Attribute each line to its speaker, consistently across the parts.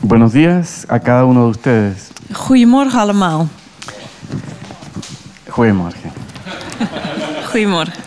Speaker 1: Buenos días a cada uno de ustedes.
Speaker 2: Goedemorgen allemaal.
Speaker 1: Goedemorgen.
Speaker 2: Goedemorgen.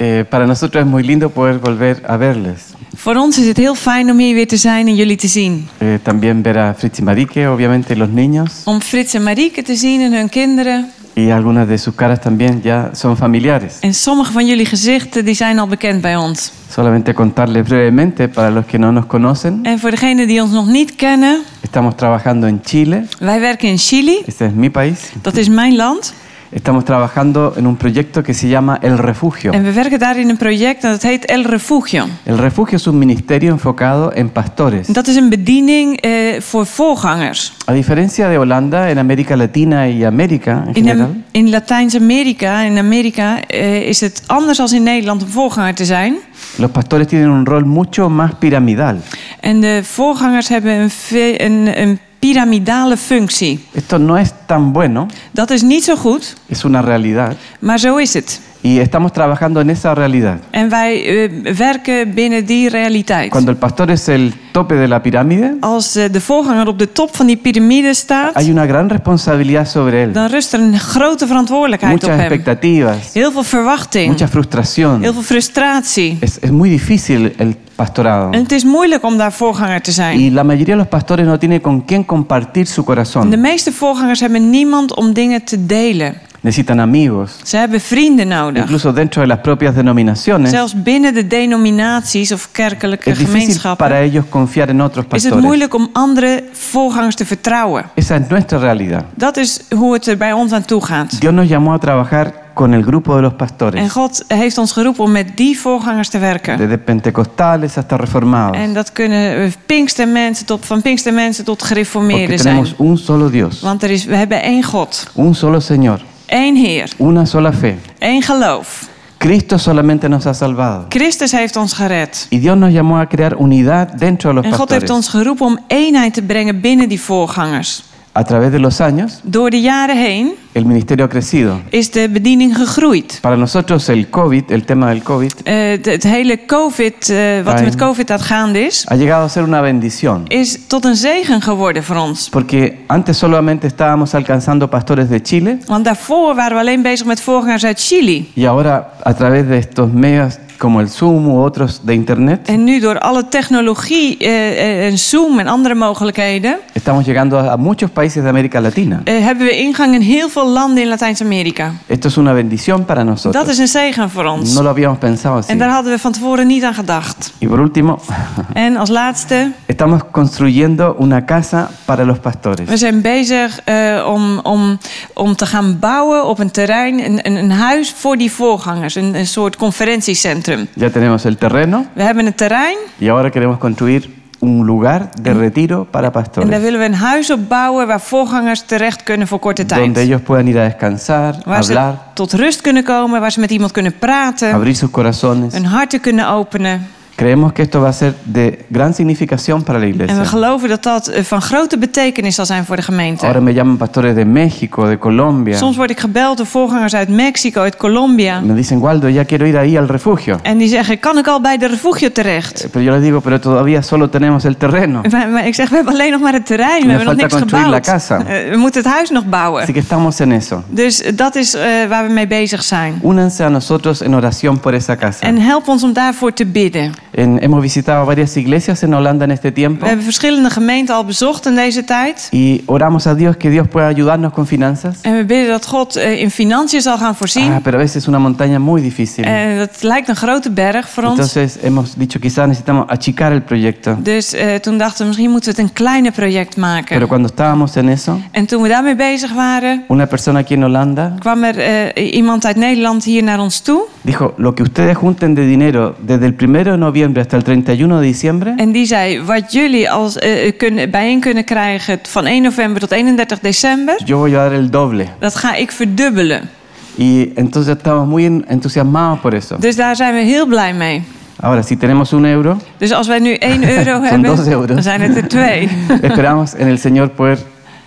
Speaker 1: Eh, para nosotros es muy lindo poder volver a verles.
Speaker 2: Voor ons is het heel fijn om hier weer te zijn en jullie te zien.
Speaker 1: Eh, también ver a Fritz y Marique, obviamente los niños,
Speaker 2: Om Frits en Marieke te zien en hun kinderen.
Speaker 1: y algunas de sus caras también ya son familiares.
Speaker 2: En sommige van jullie gezichten die zijn al bekend bij ons.
Speaker 1: Solamente contarles brevemente, para los que no nos conocen,
Speaker 2: En voor degenen die ons nog niet kennen,
Speaker 1: estamos trabajando en Chile,
Speaker 2: wij werken in Chili.
Speaker 1: este es mi país,
Speaker 2: Dat is mijn land.
Speaker 1: estamos trabajando en un proyecto que se llama El Refugio.
Speaker 2: En we werken daar in een project en dat heet El Refugio.
Speaker 1: El Refugio es un ministerio enfocado en pastores.
Speaker 2: En Dat is een bediening eh, voor voorgangers.
Speaker 1: A diferencia de Holanda, en América Latina y América en
Speaker 2: In,
Speaker 1: general,
Speaker 2: Am- in Latijns-Amerika, in Amerika, eh, is het anders dan in Nederland om voorganger te zijn.
Speaker 1: los pastores tienen un rol mucho más piramidal.
Speaker 2: En de voorgangers hebben een, ve- een, een piramidale functie.
Speaker 1: Esto no es tan bueno,
Speaker 2: Dat is niet zo goed,
Speaker 1: es una realidad,
Speaker 2: maar zo is het.
Speaker 1: y estamos trabajando en esa realidad.
Speaker 2: En wij eh, werken binnen die realiteit.
Speaker 1: Cuando el pastor es el tope de la pirámide,
Speaker 2: Als eh, de voorganger op de top van die piramide staat,
Speaker 1: hay una gran responsabilidad sobre él,
Speaker 2: dan rust er een grote verantwoordelijkheid op
Speaker 1: muchas
Speaker 2: hem.
Speaker 1: expectativas,
Speaker 2: Heel veel verwachting,
Speaker 1: mucha frustración.
Speaker 2: heel veel frustratie.
Speaker 1: Es, es muy difícil el pastorado.
Speaker 2: En het is moeilijk om daar voorganger te zijn.
Speaker 1: Y la mayoría de los pastores no tiene con quién compartir su
Speaker 2: De
Speaker 1: corazón.
Speaker 2: meeste voorgangers hebben niemand om dingen te delen.
Speaker 1: Necesitan amigos.
Speaker 2: Ze hebben vrienden nodig.
Speaker 1: Incluso dentro de las propias denominaciones,
Speaker 2: Zelfs binnen de denominaties of kerkelijke
Speaker 1: es difícil
Speaker 2: gemeenschappen
Speaker 1: para ellos confiar en otros
Speaker 2: is het
Speaker 1: pastores.
Speaker 2: moeilijk om andere voorgangers te vertrouwen.
Speaker 1: Esa es nuestra realidad.
Speaker 2: Dat is hoe het er bij ons aan toe gaat.
Speaker 1: Dios nos llamó a trabajar con el grupo de los pastores.
Speaker 2: En God heeft ons geroepen om met die voorgangers te werken.
Speaker 1: desde pentecostales hasta reformados.
Speaker 2: En dat kunnen eh, Pinkstermensen tot, van Pinkstermensen tot
Speaker 1: Porque
Speaker 2: gereformeerden zijn.
Speaker 1: tenemos un solo Dios,
Speaker 2: Want er is, we hebben één God,
Speaker 1: un solo Señor,
Speaker 2: één Heer,
Speaker 1: una sola fe.
Speaker 2: één geloof.
Speaker 1: Cristo solamente nos ha salvado.
Speaker 2: Christus heeft ons gered.
Speaker 1: Y Dios nos llamó a crear unidad dentro de los
Speaker 2: En God heeft
Speaker 1: pastores.
Speaker 2: ons geroepen om eenheid te brengen binnen die voorgangers.
Speaker 1: A través de los años,
Speaker 2: Door de jaren heen
Speaker 1: el ministerio ha crecido.
Speaker 2: is de bediening gegroeid.
Speaker 1: Para nosotros el COVID, el tema del COVID,
Speaker 2: Eh, het- het hele COVID, eh, wat er
Speaker 1: Fijn.
Speaker 2: met COVID aan het gaande is,
Speaker 1: ha llegado a ser una bendición.
Speaker 2: is tot een zegen geworden voor ons.
Speaker 1: Porque antes solamente estábamos alcanzando pastores de Chile
Speaker 2: Want daarvoor waren we alleen bezig met voorgangers uit Chili.
Speaker 1: y ahora a través de estos medios como el Zoom u otros de Internet,
Speaker 2: En nu door alle technologie eh, eh, en Zoom en andere mogelijkheden...
Speaker 1: estamos llegando a a muchos países de América Latina.
Speaker 2: eh, hebben we ingang in heel veel landen in Latijns-Amerika.
Speaker 1: Esto es una bendición para nosotros.
Speaker 2: Dat is een zegen voor ons.
Speaker 1: No lo habíamos pensado así.
Speaker 2: En daar hadden we van tevoren niet aan gedacht.
Speaker 1: Y por último,
Speaker 2: En als laatste,
Speaker 1: estamos construyendo una casa para los
Speaker 2: we
Speaker 1: pastores.
Speaker 2: zijn bezig eh, om, om, om te gaan bouwen op een terrein, een, een, een huis voor die voorgangers, een, een soort conferentiecentrum.
Speaker 1: Ya tenemos el terreno
Speaker 2: We hebben een terrein
Speaker 1: y ahora queremos construir un lugar de retiro para
Speaker 2: en daar
Speaker 1: pastores,
Speaker 2: willen we een huis op bouwen waar voorgangers terecht kunnen voor korte tijd.
Speaker 1: donde ellos puedan ir a descansar,
Speaker 2: waar ze
Speaker 1: hablar,
Speaker 2: tot rust kunnen komen, waar ze met iemand kunnen praten,
Speaker 1: abrir sus corazones.
Speaker 2: hun harten kunnen openen.
Speaker 1: Creemos que esto va a ser de gran significación para la
Speaker 2: En we
Speaker 1: iglesia.
Speaker 2: geloven dat dat eh, van grote betekenis zal zijn voor de
Speaker 1: Ahora
Speaker 2: gemeente.
Speaker 1: me llaman pastores de México, de Colombia.
Speaker 2: Soms word ik gebeld door voorgangers uit Mexico, uit Colombia.
Speaker 1: Me dicen, Waldo, ya quiero ir ahí al refugio.
Speaker 2: En die zeggen, kan ik al bij de refugio terecht?
Speaker 1: Eh, Pero yo les digo, pero todavía solo tenemos el terreno.
Speaker 2: Maar, maar ik zeg, we hebben alleen nog maar het terrein. We
Speaker 1: Me
Speaker 2: hebben nog niks
Speaker 1: falta construir
Speaker 2: gebouwd.
Speaker 1: la casa.
Speaker 2: Eh, we moeten het huis nog
Speaker 1: Así
Speaker 2: bouwen.
Speaker 1: que estamos en eso.
Speaker 2: Dus eh, dat is eh, waar we mee bezig zijn.
Speaker 1: Únanse a nosotros en oración por esa casa.
Speaker 2: En help ons om daarvoor te bidden.
Speaker 1: En- hemos visitado varias iglesias en Holanda en este tiempo
Speaker 2: We hebben verschillende gemeenten al bezocht in deze tijd.
Speaker 1: y oramos a Dios que Dios pueda ayudarnos con finanzas.
Speaker 2: En we bidden dat God eh, in financiën zal gaan voorzien.
Speaker 1: Ah, pero a veces es una montaña muy difícil.
Speaker 2: Eh, dat lijkt een grote berg voor ons.
Speaker 1: Entonces hemos dicho quizás necesitamos achicar el proyecto.
Speaker 2: Dus eh, toen dachten we, misschien moeten we het een kleiner project
Speaker 1: Pero
Speaker 2: maken.
Speaker 1: cuando estábamos en eso,
Speaker 2: En toen we daarmee bezig waren,
Speaker 1: una persona aquí en Holanda
Speaker 2: kwam er eh, iemand uit Nederland hier naar ons toe.
Speaker 1: dijo, lo que ustedes junten de dinero desde el 1 de noviembre hasta el 31 de diciembre,
Speaker 2: En die zei, wat jullie als, eh, kunnen, bijeen kunnen krijgen van 1 november tot 31 december,
Speaker 1: yo voy a dar el doble.
Speaker 2: dat ga ik verdubbelen.
Speaker 1: Y entonces estamos muy en- entusiasmados por eso.
Speaker 2: Dus daar zijn we heel blij mee.
Speaker 1: Ahora, si tenemos un euro,
Speaker 2: Dus als wij nu 1 euro
Speaker 1: Zo'n
Speaker 2: hebben,
Speaker 1: dos euro.
Speaker 2: dan zijn het er twee.
Speaker 1: Esperamos en el Señor poder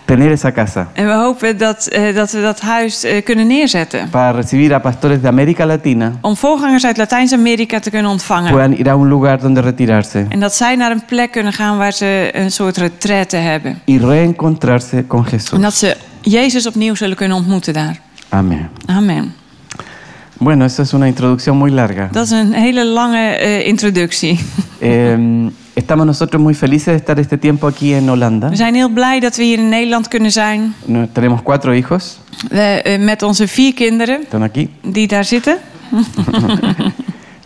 Speaker 1: tener esa casa
Speaker 2: En we hopen dat, eh, dat we dat huis eh, kunnen neerzetten.
Speaker 1: para recibir a pastores de América Latina
Speaker 2: Om voorgangers uit Latijns-Amerika te kunnen ontvangen.
Speaker 1: puedan ir a un lugar donde retirarse
Speaker 2: En dat zij naar een plek kunnen gaan waar ze een soort retraite hebben.
Speaker 1: y reencontrarse con
Speaker 2: En
Speaker 1: Jesús.
Speaker 2: dat ze Jezus opnieuw zullen kunnen ontmoeten daar.
Speaker 1: Amén.
Speaker 2: Amen.
Speaker 1: Bueno, esa es una introducción muy larga.
Speaker 2: Dat is een hele lange eh, introductie.
Speaker 1: Eh, estamos nosotros muy felices de estar este tiempo aquí en Holanda.
Speaker 2: We zijn heel blij dat we hier in Nederland kunnen zijn.
Speaker 1: No- tenemos cuatro hijos,
Speaker 2: We, eh, met onze vier kinderen
Speaker 1: están aquí.
Speaker 2: die daar zitten.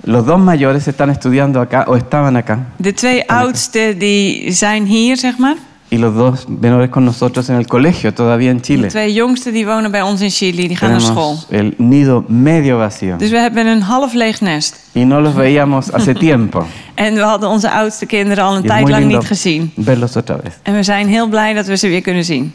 Speaker 1: Los dos mayores están estudiando acá o estaban acá.
Speaker 2: De twee oudsten die zijn hier, zeg maar.
Speaker 1: Y los dos menores con nosotros en el colegio, todavía en
Speaker 2: De
Speaker 1: Chile.
Speaker 2: twee jongsten die wonen bij ons in Chili, die gaan naar school.
Speaker 1: Tenemos el nido medio vacío.
Speaker 2: Dus we hebben een half leeg nest.
Speaker 1: Y no los veíamos hace tiempo.
Speaker 2: En we hadden onze oudste kinderen al een
Speaker 1: Y es
Speaker 2: tijd
Speaker 1: muy
Speaker 2: lang
Speaker 1: lindo
Speaker 2: niet gezien.
Speaker 1: verlos otra vez.
Speaker 2: En we zijn heel blij dat we ze weer kunnen zien.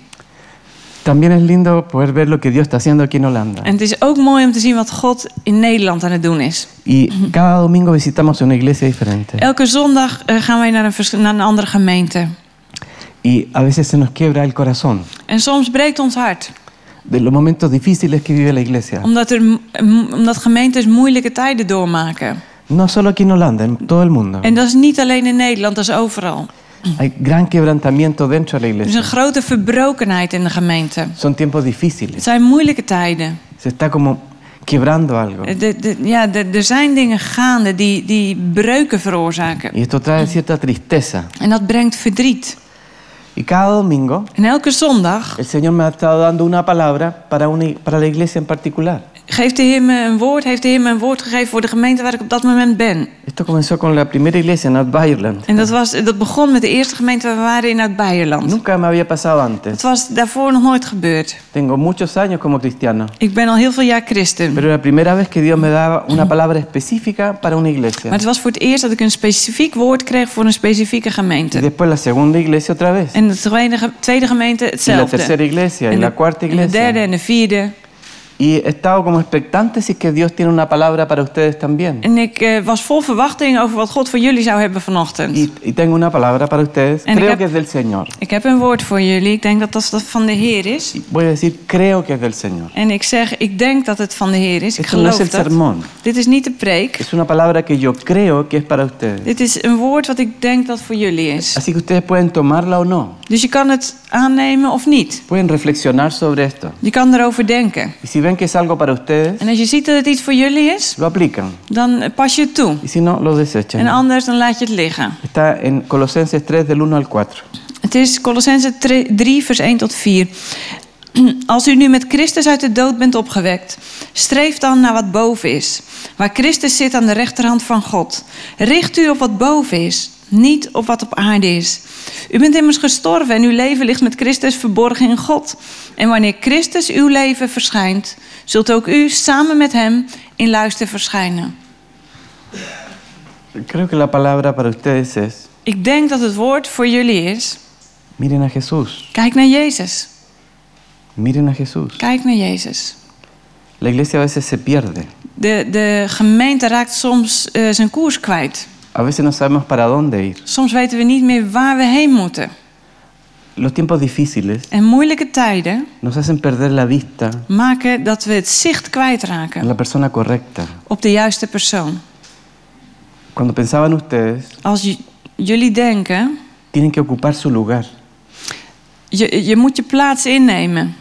Speaker 1: También es lindo poder ver lo que Dios está haciendo aquí en Holanda.
Speaker 2: En het is ook mooi om te zien wat God in Nederland aan het doen is.
Speaker 1: Y cada domingo visitamos una iglesia diferente.
Speaker 2: Elke zondag eh, gaan wij naar een, vers- naar een andere gemeente.
Speaker 1: Y a veces se nos quiebra el corazón
Speaker 2: En soms breekt ons hart.
Speaker 1: de los momentos difíciles que vive la iglesia.
Speaker 2: Omdat, er, m- m- omdat gemeentes moeilijke tijden doormaken.
Speaker 1: No solo aquí en Holanda, en todo el mundo.
Speaker 2: En dat is niet alleen in Nederland, dat is overal.
Speaker 1: Hay gran quebrantamiento dentro de la
Speaker 2: Er is een
Speaker 1: iglesia.
Speaker 2: grote verbrokenheid in de gemeente.
Speaker 1: Son tiempos difíciles.
Speaker 2: Het zijn moeilijke tijden. Eh,
Speaker 1: Se está como quebrando algo.
Speaker 2: De, de, ja, de- er zijn dingen gaande die, die breuken veroorzaken.
Speaker 1: Y esto trae cierta tristeza.
Speaker 2: En dat brengt verdriet.
Speaker 1: Y cada domingo
Speaker 2: En elke zondag
Speaker 1: el Señor me ha estado dando una palabra para, una- para la iglesia en particular.
Speaker 2: geeft de Heer me een woord, heeft de Heer me een woord gegeven voor de gemeente waar ik op dat moment ben.
Speaker 1: Esto comenzó con la primera iglesia en Advairland.
Speaker 2: En dat, was, dat begon met de eerste gemeente waar we waren in uit Beierland.
Speaker 1: Nunca me había pasado
Speaker 2: Dat
Speaker 1: antes.
Speaker 2: was daarvoor nog nooit gebeurd.
Speaker 1: Tengo muchos años como cristiano.
Speaker 2: Ik ben al heel veel jaar christen.
Speaker 1: Pero era la primera vez que Dios me daba una palabra específica para una iglesia.
Speaker 2: Maar het was voor het eerst dat ik een specifiek woord kreeg voor een specifieke
Speaker 1: Y
Speaker 2: gemeente.
Speaker 1: después la segunda iglesia otra vez.
Speaker 2: En de tweede, ge- tweede gemeente
Speaker 1: Y la
Speaker 2: hetzelfde.
Speaker 1: tercera iglesia y
Speaker 2: En de-
Speaker 1: la cuarta
Speaker 2: en de
Speaker 1: iglesia.
Speaker 2: derde en de vierde.
Speaker 1: Y he estado como expectante si es que Dios tiene una palabra para ustedes también.
Speaker 2: En ik eh, was vol verwachting over wat God voor jullie zou hebben vanochtend.
Speaker 1: Y, y tengo una palabra para ustedes.
Speaker 2: En
Speaker 1: Creo
Speaker 2: acá-
Speaker 1: que es del Señor.
Speaker 2: Ik heb een woord voor jullie. Ik denk dat dat dat van de Heer is.
Speaker 1: Y Voy a decir, creo que es del Señor.
Speaker 2: En ik zeg, ik denk dat het van de Heer is. Ik
Speaker 1: Esto no
Speaker 2: geloof
Speaker 1: es el
Speaker 2: dat.
Speaker 1: sermón.
Speaker 2: Dit is niet de preek.
Speaker 1: Es una palabra que yo creo que es para ustedes.
Speaker 2: Dit is een woord wat ik denk dat voor jullie is.
Speaker 1: Así que ustedes pueden tomarla o no.
Speaker 2: Dus je kan het aannemen of niet.
Speaker 1: Pueden reflexionar sobre esto.
Speaker 2: Je kan erover denken.
Speaker 1: Y si ven que es algo para ustedes,
Speaker 2: En als je ziet dat het iets voor jullie is,
Speaker 1: lo aplican.
Speaker 2: dan eh, pas je het toe.
Speaker 1: Y si no, lo
Speaker 2: En
Speaker 1: desechan.
Speaker 2: anders dan laat je het liggen.
Speaker 1: Está en Colosenses 3 del 1 al 4.
Speaker 2: Het is Colossense 3, vers 1 tot 4. Als u nu met Christus uit de dood bent opgewekt, streef dan naar wat boven is. Waar Christus zit aan de rechterhand van God. Richt u op wat boven is, niet op wat op aarde is. U bent immers gestorven en uw leven ligt met Christus verborgen in God. En wanneer Christus uw leven verschijnt, zult ook u samen met hem in luister verschijnen.
Speaker 1: Creo que la palabra para ustedes es,
Speaker 2: Ik denk dat het woord voor jullie is:
Speaker 1: miren a Jesús,
Speaker 2: kijk naar Jezus.
Speaker 1: miren a Jesús.
Speaker 2: Kijk naar Jezus.
Speaker 1: La iglesia a veces se pierde.
Speaker 2: De, de gemeente raakt soms eh, zijn koers kwijt.
Speaker 1: A veces no sabemos para dónde ir.
Speaker 2: Soms weten we niet meer waar we heen moeten.
Speaker 1: Los tiempos difíciles
Speaker 2: En moeilijke tijden
Speaker 1: nos hacen perder la vista
Speaker 2: maken dat we het zicht
Speaker 1: a
Speaker 2: kwijtraken
Speaker 1: la persona correcta.
Speaker 2: op de juiste persoon.
Speaker 1: Cuando pensaban ustedes,
Speaker 2: Als j- jullie denken,
Speaker 1: tienen que ocupar su lugar.
Speaker 2: je, je moet je plaats innemen.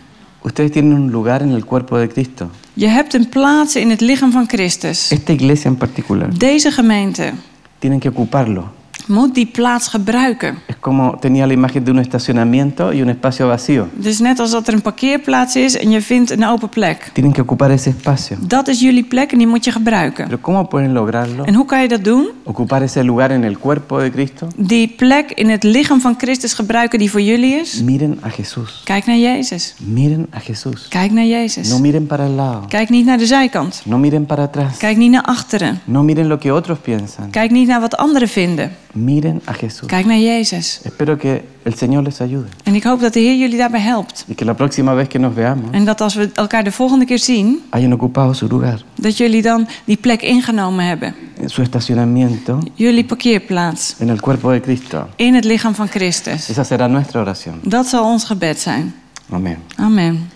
Speaker 1: Ustedes tienen un lugar en el cuerpo de Cristo.
Speaker 2: Je hebt een plaats in het lichaam van Christus.
Speaker 1: Esta iglesia en particular,
Speaker 2: Deze gemeente
Speaker 1: tienen que ocuparlo.
Speaker 2: moet die plaats gebruiken.
Speaker 1: Es como tenía la imagen de un estacionamiento y un espacio vacío.
Speaker 2: Dus net als dat er een parkeerplaats is en je vindt een open plek.
Speaker 1: Tienen que ocupar ese espacio.
Speaker 2: Dat is jullie plek en die moet je gebruiken.
Speaker 1: Pero ¿cómo pueden lograrlo?
Speaker 2: En hoe kan je dat doen?
Speaker 1: Ocupar ese lugar en el cuerpo de Cristo.
Speaker 2: die plek in het lichaam van Christus gebruiken die voor jullie is?
Speaker 1: Miren a Jesús.
Speaker 2: Kijk naar Jezus.
Speaker 1: Miren a Jesús.
Speaker 2: Kijk naar Jezus.
Speaker 1: No miren para el lado.
Speaker 2: Kijk niet naar de zijkant.
Speaker 1: No miren para atrás.
Speaker 2: Kijk niet naar achteren.
Speaker 1: No miren lo que otros piensan.
Speaker 2: Kijk niet naar wat anderen vinden.
Speaker 1: Miren a Jesús.
Speaker 2: Kijk naar Jezus.
Speaker 1: Espero que el Señor les ayude
Speaker 2: En ik hoop dat de Heer jullie daarbij helpt.
Speaker 1: y que la próxima vez que nos veamos
Speaker 2: En dat als we elkaar de volgende keer zien,
Speaker 1: hayan ocupado su lugar.
Speaker 2: dat jullie dan die plek ingenomen hebben.
Speaker 1: en su estacionamiento
Speaker 2: jullie parkeerplaats
Speaker 1: en el cuerpo de Cristo.
Speaker 2: in het lichaam van Christus.
Speaker 1: Esa será nuestra oración.
Speaker 2: Dat zal ons gebed zijn.
Speaker 1: Amén.
Speaker 2: Amen.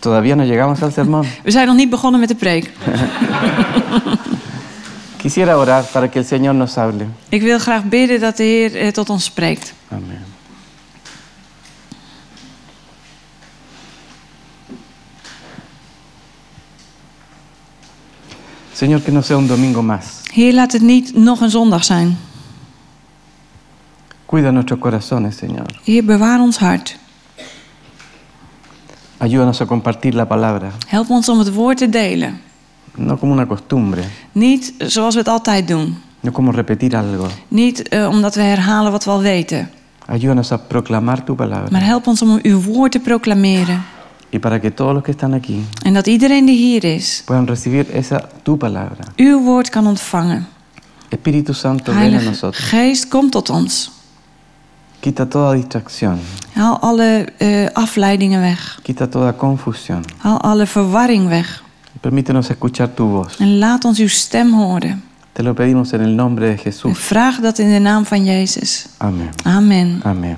Speaker 1: Todavía no llegamos al sermón.
Speaker 2: We zijn nog niet begonnen met de preek.
Speaker 1: Quisiera orar para que el Señor nos hable.
Speaker 2: Ik wil graag bidden dat de Heer eh, tot ons spreekt.
Speaker 1: Amén. Señor, que no sea un domingo más.
Speaker 2: Heer, laat het niet nog een zondag zijn.
Speaker 1: Cuida nuestros corazones, Señor.
Speaker 2: Heer, bewaar ons hart.
Speaker 1: Ayúdanos a compartir la palabra,
Speaker 2: Help ons om het woord te delen.
Speaker 1: no como una costumbre,
Speaker 2: Niet zoals we het altijd doen.
Speaker 1: no como repetir algo.
Speaker 2: Niet eh, omdat we herhalen wat we al weten.
Speaker 1: Ayúdanos a proclamar tu palabra.
Speaker 2: Maar help ons om uw woord te proclameren.
Speaker 1: Y para que todos los que están aquí
Speaker 2: En dat iedereen die hier is,
Speaker 1: puedan recibir esa tu palabra.
Speaker 2: uw woord kan ontvangen.
Speaker 1: Espíritu Santo, ven a
Speaker 2: Heilige
Speaker 1: nosotros.
Speaker 2: Geest, kom tot ons.
Speaker 1: Quita toda distracción,
Speaker 2: Haal alle eh, afleidingen weg.
Speaker 1: quita toda confusión.
Speaker 2: Haal alle verwarring weg.
Speaker 1: Permítenos escuchar tu voz.
Speaker 2: En laat ons uw stem horen.
Speaker 1: Te lo pedimos en el nombre de
Speaker 2: En
Speaker 1: Jesús.
Speaker 2: vraag dat in de naam van Jezus.
Speaker 1: Amén.
Speaker 2: Amen.
Speaker 1: Amén.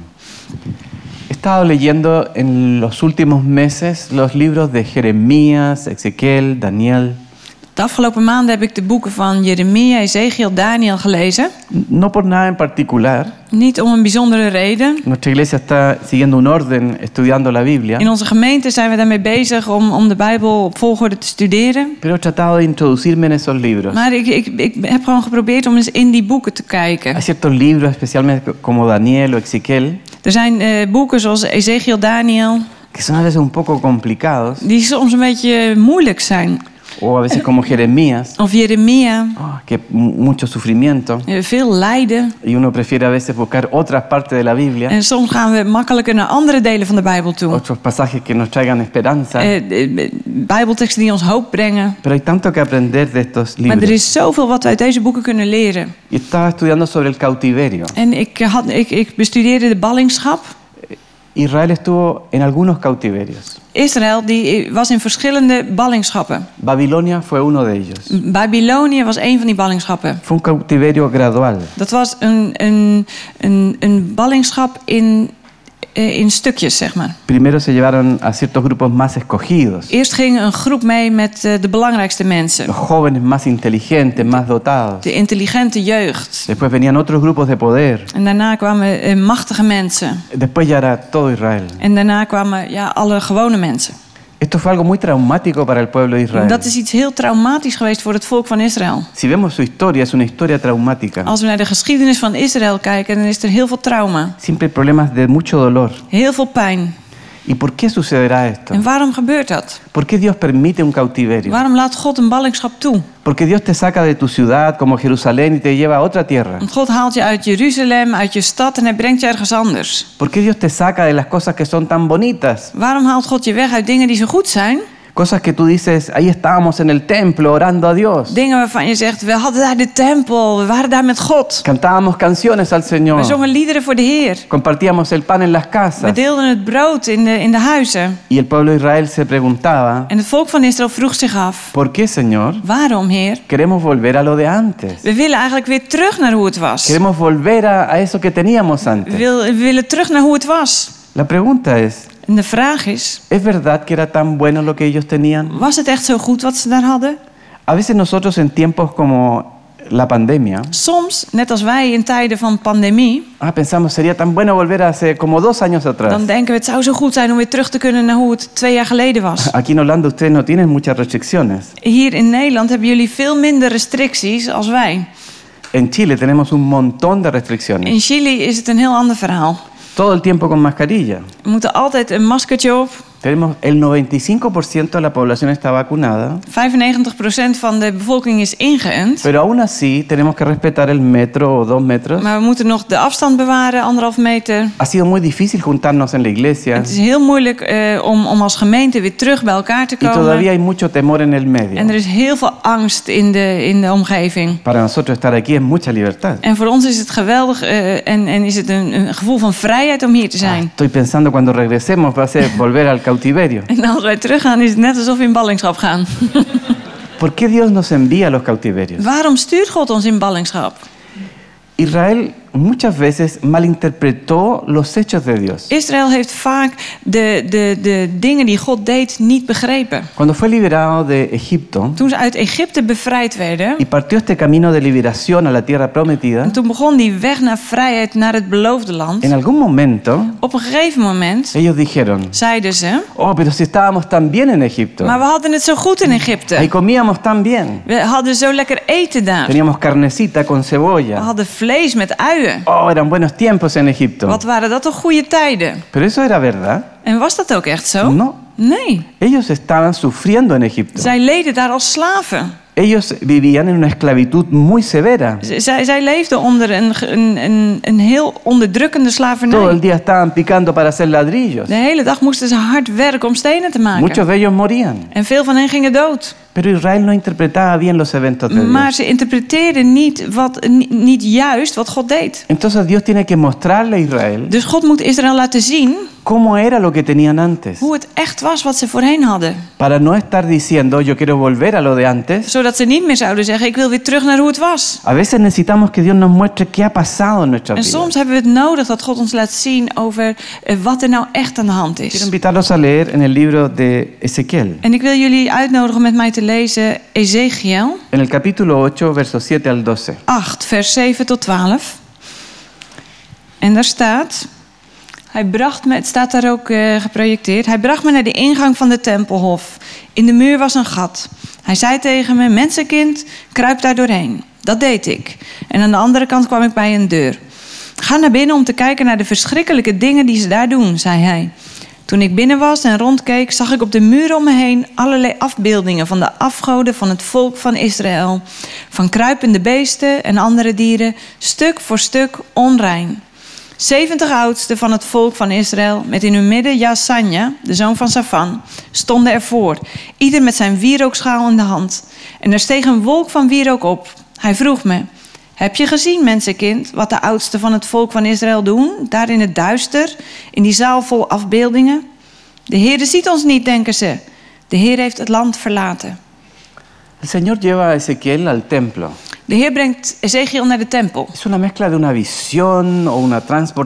Speaker 1: He estado leyendo en los últimos meses los libros de Jeremías, Ezequiel, Daniel.
Speaker 2: De afgelopen maanden heb ik de boeken van Jeremia, Ezekiel, Daniel gelezen.
Speaker 1: No por nada en particular.
Speaker 2: Niet om een bijzondere reden.
Speaker 1: Nuestra iglesia está siguiendo un orden estudiando la Biblia.
Speaker 2: In onze gemeente zijn we daarmee bezig om, om de Bijbel op volgorde te studeren.
Speaker 1: Pero he tratado de introducirme en esos libros.
Speaker 2: Maar ik, ik, ik heb gewoon geprobeerd om eens in die boeken te
Speaker 1: Hay
Speaker 2: kijken.
Speaker 1: ciertos libros, especialmente como Daniel o Ezequiel,
Speaker 2: Er zijn eh, boeken zoals Ezekiel, Daniel,
Speaker 1: que son a veces un poco complicados,
Speaker 2: die soms een beetje moeilijk zijn.
Speaker 1: o a veces como Jeremías,
Speaker 2: Of Jeremia,
Speaker 1: oh, que mu- mucho sufrimiento.
Speaker 2: eh, veel lijden.
Speaker 1: Y uno prefiere a veces buscar otras partes de la Biblia,
Speaker 2: En soms gaan we makkelijker naar andere delen van de Bijbel toe.
Speaker 1: otros pasajes que nos traigan esperanza.
Speaker 2: Eh, eh, Bijbelteksten die ons hoop brengen.
Speaker 1: Pero hay tanto que aprender de estos
Speaker 2: Maar er
Speaker 1: libros.
Speaker 2: is zoveel wat we uit deze boeken kunnen leren.
Speaker 1: Y estaba estudiando sobre el cautiverio.
Speaker 2: En ik, had, ik, ik bestudeerde de ballingschap.
Speaker 1: Israel estuvo en algunos cautiverios.
Speaker 2: Israël die was in verschillende ballingschappen.
Speaker 1: Babilonia fue uno de ellos.
Speaker 2: Babylonië was een van die ballingschappen.
Speaker 1: Fue un cautiverio gradual.
Speaker 2: Dat was een, een, een, een ballingschap in, eh, in stukjes, zeg maar.
Speaker 1: Primero se llevaron a ciertos grupos más escogidos,
Speaker 2: Eerst ging een groep mee met eh, de belangrijkste mensen.
Speaker 1: los jóvenes más inteligentes, más dotados.
Speaker 2: De intelligente jeugd.
Speaker 1: Después venían otros grupos de poder.
Speaker 2: En daarna kwamen eh, machtige mensen.
Speaker 1: Después ya era todo Israel.
Speaker 2: En daarna kwamen ja, alle gewone mensen.
Speaker 1: Esto fue algo muy traumático para el pueblo de
Speaker 2: En
Speaker 1: Israel.
Speaker 2: dat is iets heel traumatisch geweest voor het volk van Israël.
Speaker 1: Si vemos su historia, es una historia traumática.
Speaker 2: Als we naar de geschiedenis van Israël kijken, dan is er heel veel trauma.
Speaker 1: Siempre hay problemas de mucho dolor.
Speaker 2: Heel veel pijn.
Speaker 1: ¿Y por qué sucederá esto?
Speaker 2: En waarom gebeurt dat?
Speaker 1: ¿Por qué Dios permite un cautiverio?
Speaker 2: Waarom laat God een ballingschap toe?
Speaker 1: Porque Dios te saca de tu ciudad como Jerusalén y te lleva a otra tierra.
Speaker 2: Want God haalt je uit Jeruzalem, uit je stad en hij brengt je ergens anders.
Speaker 1: ¿Por qué Dios te saca de las cosas que son tan bonitas?
Speaker 2: Waarom haalt God je weg uit dingen die zo goed zijn?
Speaker 1: Cosas que tú dices, ahí estábamos en el templo orando a Dios.
Speaker 2: Dingen waarvan je zegt, we hadden daar de tempel, we waren daar met God.
Speaker 1: Cantábamos canciones al
Speaker 2: We
Speaker 1: Señor.
Speaker 2: zongen liederen voor de Heer.
Speaker 1: Compartíamos el pan en las
Speaker 2: We
Speaker 1: casas.
Speaker 2: deelden het brood in de, in de huizen.
Speaker 1: Y el pueblo de Israel se preguntaba,
Speaker 2: En het volk van Israël vroeg zich af,
Speaker 1: ¿por qué Señor?
Speaker 2: waarom Heer?
Speaker 1: Queremos volver a lo de antes.
Speaker 2: We willen eigenlijk weer terug naar hoe het was.
Speaker 1: Queremos volver a, a eso que teníamos
Speaker 2: We,
Speaker 1: antes.
Speaker 2: wil- we willen terug naar hoe het was.
Speaker 1: La pregunta es,
Speaker 2: En de vraag is,
Speaker 1: ¿es verdad que era tan bueno lo que ellos tenían?
Speaker 2: was het echt zo goed wat ze daar hadden?
Speaker 1: A veces nosotros en tiempos como la pandemia,
Speaker 2: Soms, net als wij in tijden van pandemie,
Speaker 1: Ah, pensamos, sería tan bueno volver a hace como dos años atrás.
Speaker 2: dan denken we het zou zo goed zijn om weer terug te kunnen naar hoe het twee jaar geleden was.
Speaker 1: Aquí en Holanda ustedes no tienen muchas restricciones.
Speaker 2: Hier in Nederland hebben jullie veel minder restricties als wij.
Speaker 1: En Chile tenemos un montón de restricciones.
Speaker 2: In Chili is het een heel ander verhaal.
Speaker 1: Todo el tiempo con mascarilla.
Speaker 2: We moeten altijd een maskertje op. 95%
Speaker 1: Tenemos el 95% de la población está vacunada,
Speaker 2: van de bevolking is ingeënt.
Speaker 1: pero aún así tenemos que respetar el metro o dos metros.
Speaker 2: Maar we moeten nog de afstand bewaren, anderhalf meter.
Speaker 1: Ha sido muy difícil juntarnos en la iglesia
Speaker 2: Het is heel moeilijk eh, om, om als gemeente weer terug bij elkaar te
Speaker 1: y todavía
Speaker 2: komen.
Speaker 1: hay mucho temor en el medio.
Speaker 2: En er is heel veel angst in de, in de omgeving.
Speaker 1: Para nosotros estar aquí es mucha libertad.
Speaker 2: En voor ons is het geweldig eh, en, en is het een, een gevoel van vrijheid om hier te
Speaker 1: Ah,
Speaker 2: zijn.
Speaker 1: estoy pensando cuando regresemos va a ser volver al cautiverio.
Speaker 2: En als wij teruggaan is het net alsof we in ballingschap gaan.
Speaker 1: ¿Por qué Dios nos envía a los cautiverios?
Speaker 2: Waarom stuurt God ons in ballingschap?
Speaker 1: Israel muchas veces malinterpretó los hechos de Dios.
Speaker 2: Israël heeft vaak de, de, de dingen die God deed niet begrepen.
Speaker 1: Cuando fue liberado de Egipto
Speaker 2: Toen ze uit Egypte bevrijd werden,
Speaker 1: y partió este camino de liberación a la tierra prometida,
Speaker 2: en toen begon die weg naar vrijheid, naar het beloofde land.
Speaker 1: en algún momento
Speaker 2: Op een gegeven moment
Speaker 1: ellos dijeron,
Speaker 2: zeiden ze,
Speaker 1: oh, pero si estábamos tan bien en Egipto,
Speaker 2: maar we hadden het zo goed in
Speaker 1: ahí
Speaker 2: Egypte.
Speaker 1: comíamos tan bien,
Speaker 2: We hadden zo lekker eten daar.
Speaker 1: teníamos carnecita con
Speaker 2: We
Speaker 1: cebolla,
Speaker 2: hadden vlees met uien.
Speaker 1: oh, eran buenos tiempos en Egipto.
Speaker 2: Wat waren dat toch goede tijden?
Speaker 1: Pero eso era verdad.
Speaker 2: En was dat ook echt zo?
Speaker 1: No,
Speaker 2: Nee,
Speaker 1: ellos estaban sufriendo en Egipto.
Speaker 2: zij leden daar als slaven.
Speaker 1: Ellos vivían en una esclavitud muy severa.
Speaker 2: Z- Zij, zij leefden onder een, ge- een, een, een heel onderdrukkende
Speaker 1: Todo el
Speaker 2: slavernij.
Speaker 1: día estaban picando para hacer ladrillos.
Speaker 2: De hele dag moesten ze hard werken om stenen te maken.
Speaker 1: Muchos de ellos morían.
Speaker 2: En veel van hen gingen dood.
Speaker 1: Pero Israel no interpretaba bien los eventos de
Speaker 2: Maar
Speaker 1: Dios.
Speaker 2: ze interpreteerden niet, wat, ni- niet juist wat God deed.
Speaker 1: Entonces Dios tiene que mostrarle a Israel
Speaker 2: Dus God moet Israël laten zien
Speaker 1: cómo era lo que tenían antes.
Speaker 2: hoe het echt was wat ze voorheen hadden.
Speaker 1: Para no estar diciendo yo quiero volver a lo de antes.
Speaker 2: Zodat ze niet meer zouden zeggen, ik wil weer terug naar hoe het was.
Speaker 1: A veces necesitamos que Dios nos muestre qué ha pasado en nuestra
Speaker 2: En
Speaker 1: vida.
Speaker 2: soms hebben we het nodig dat God ons laat zien over eh, wat er nou echt aan de hand
Speaker 1: Quiero
Speaker 2: is.
Speaker 1: invitarlos a leer en el libro de Ezequiel,
Speaker 2: En ik wil jullie uitnodigen om met mij te lezen Ezekiel
Speaker 1: en el capítulo 8, versos 7 al 12.
Speaker 2: 8, vers 7 tot 12. En daar staat. Hij bracht me, het staat daar ook eh, geprojecteerd. Hij bracht me naar de ingang van de tempelhof. In de muur was een gat. Hij zei tegen me: Mensenkind, kruip daar doorheen. Dat deed ik. En aan de andere kant kwam ik bij een deur. Ga naar binnen om te kijken naar de verschrikkelijke dingen die ze daar doen, zei hij. Toen ik binnen was en rondkeek, zag ik op de muren om me heen allerlei afbeeldingen van de afgoden van het volk van Israël. Van kruipende beesten en andere dieren, stuk voor stuk onrein. 70 oudsten van het volk van Israël, met in hun midden Jaasanja, de zoon van Safan, stonden ervoor, ieder met zijn wierookschaal in de hand. En er steeg een wolk van wierook op. Hij vroeg me: Heb je gezien, mensenkind, wat de oudsten van het volk van Israël doen, daar in het duister, in die zaal vol afbeeldingen? De Heere ziet ons niet, denken ze. De Heer heeft het land verlaten.
Speaker 1: El Señor lleva a Ezequiel al templo.
Speaker 2: De Heer brengt Ezekiel naar de tempel.
Speaker 1: Es una mezcla de una visión o una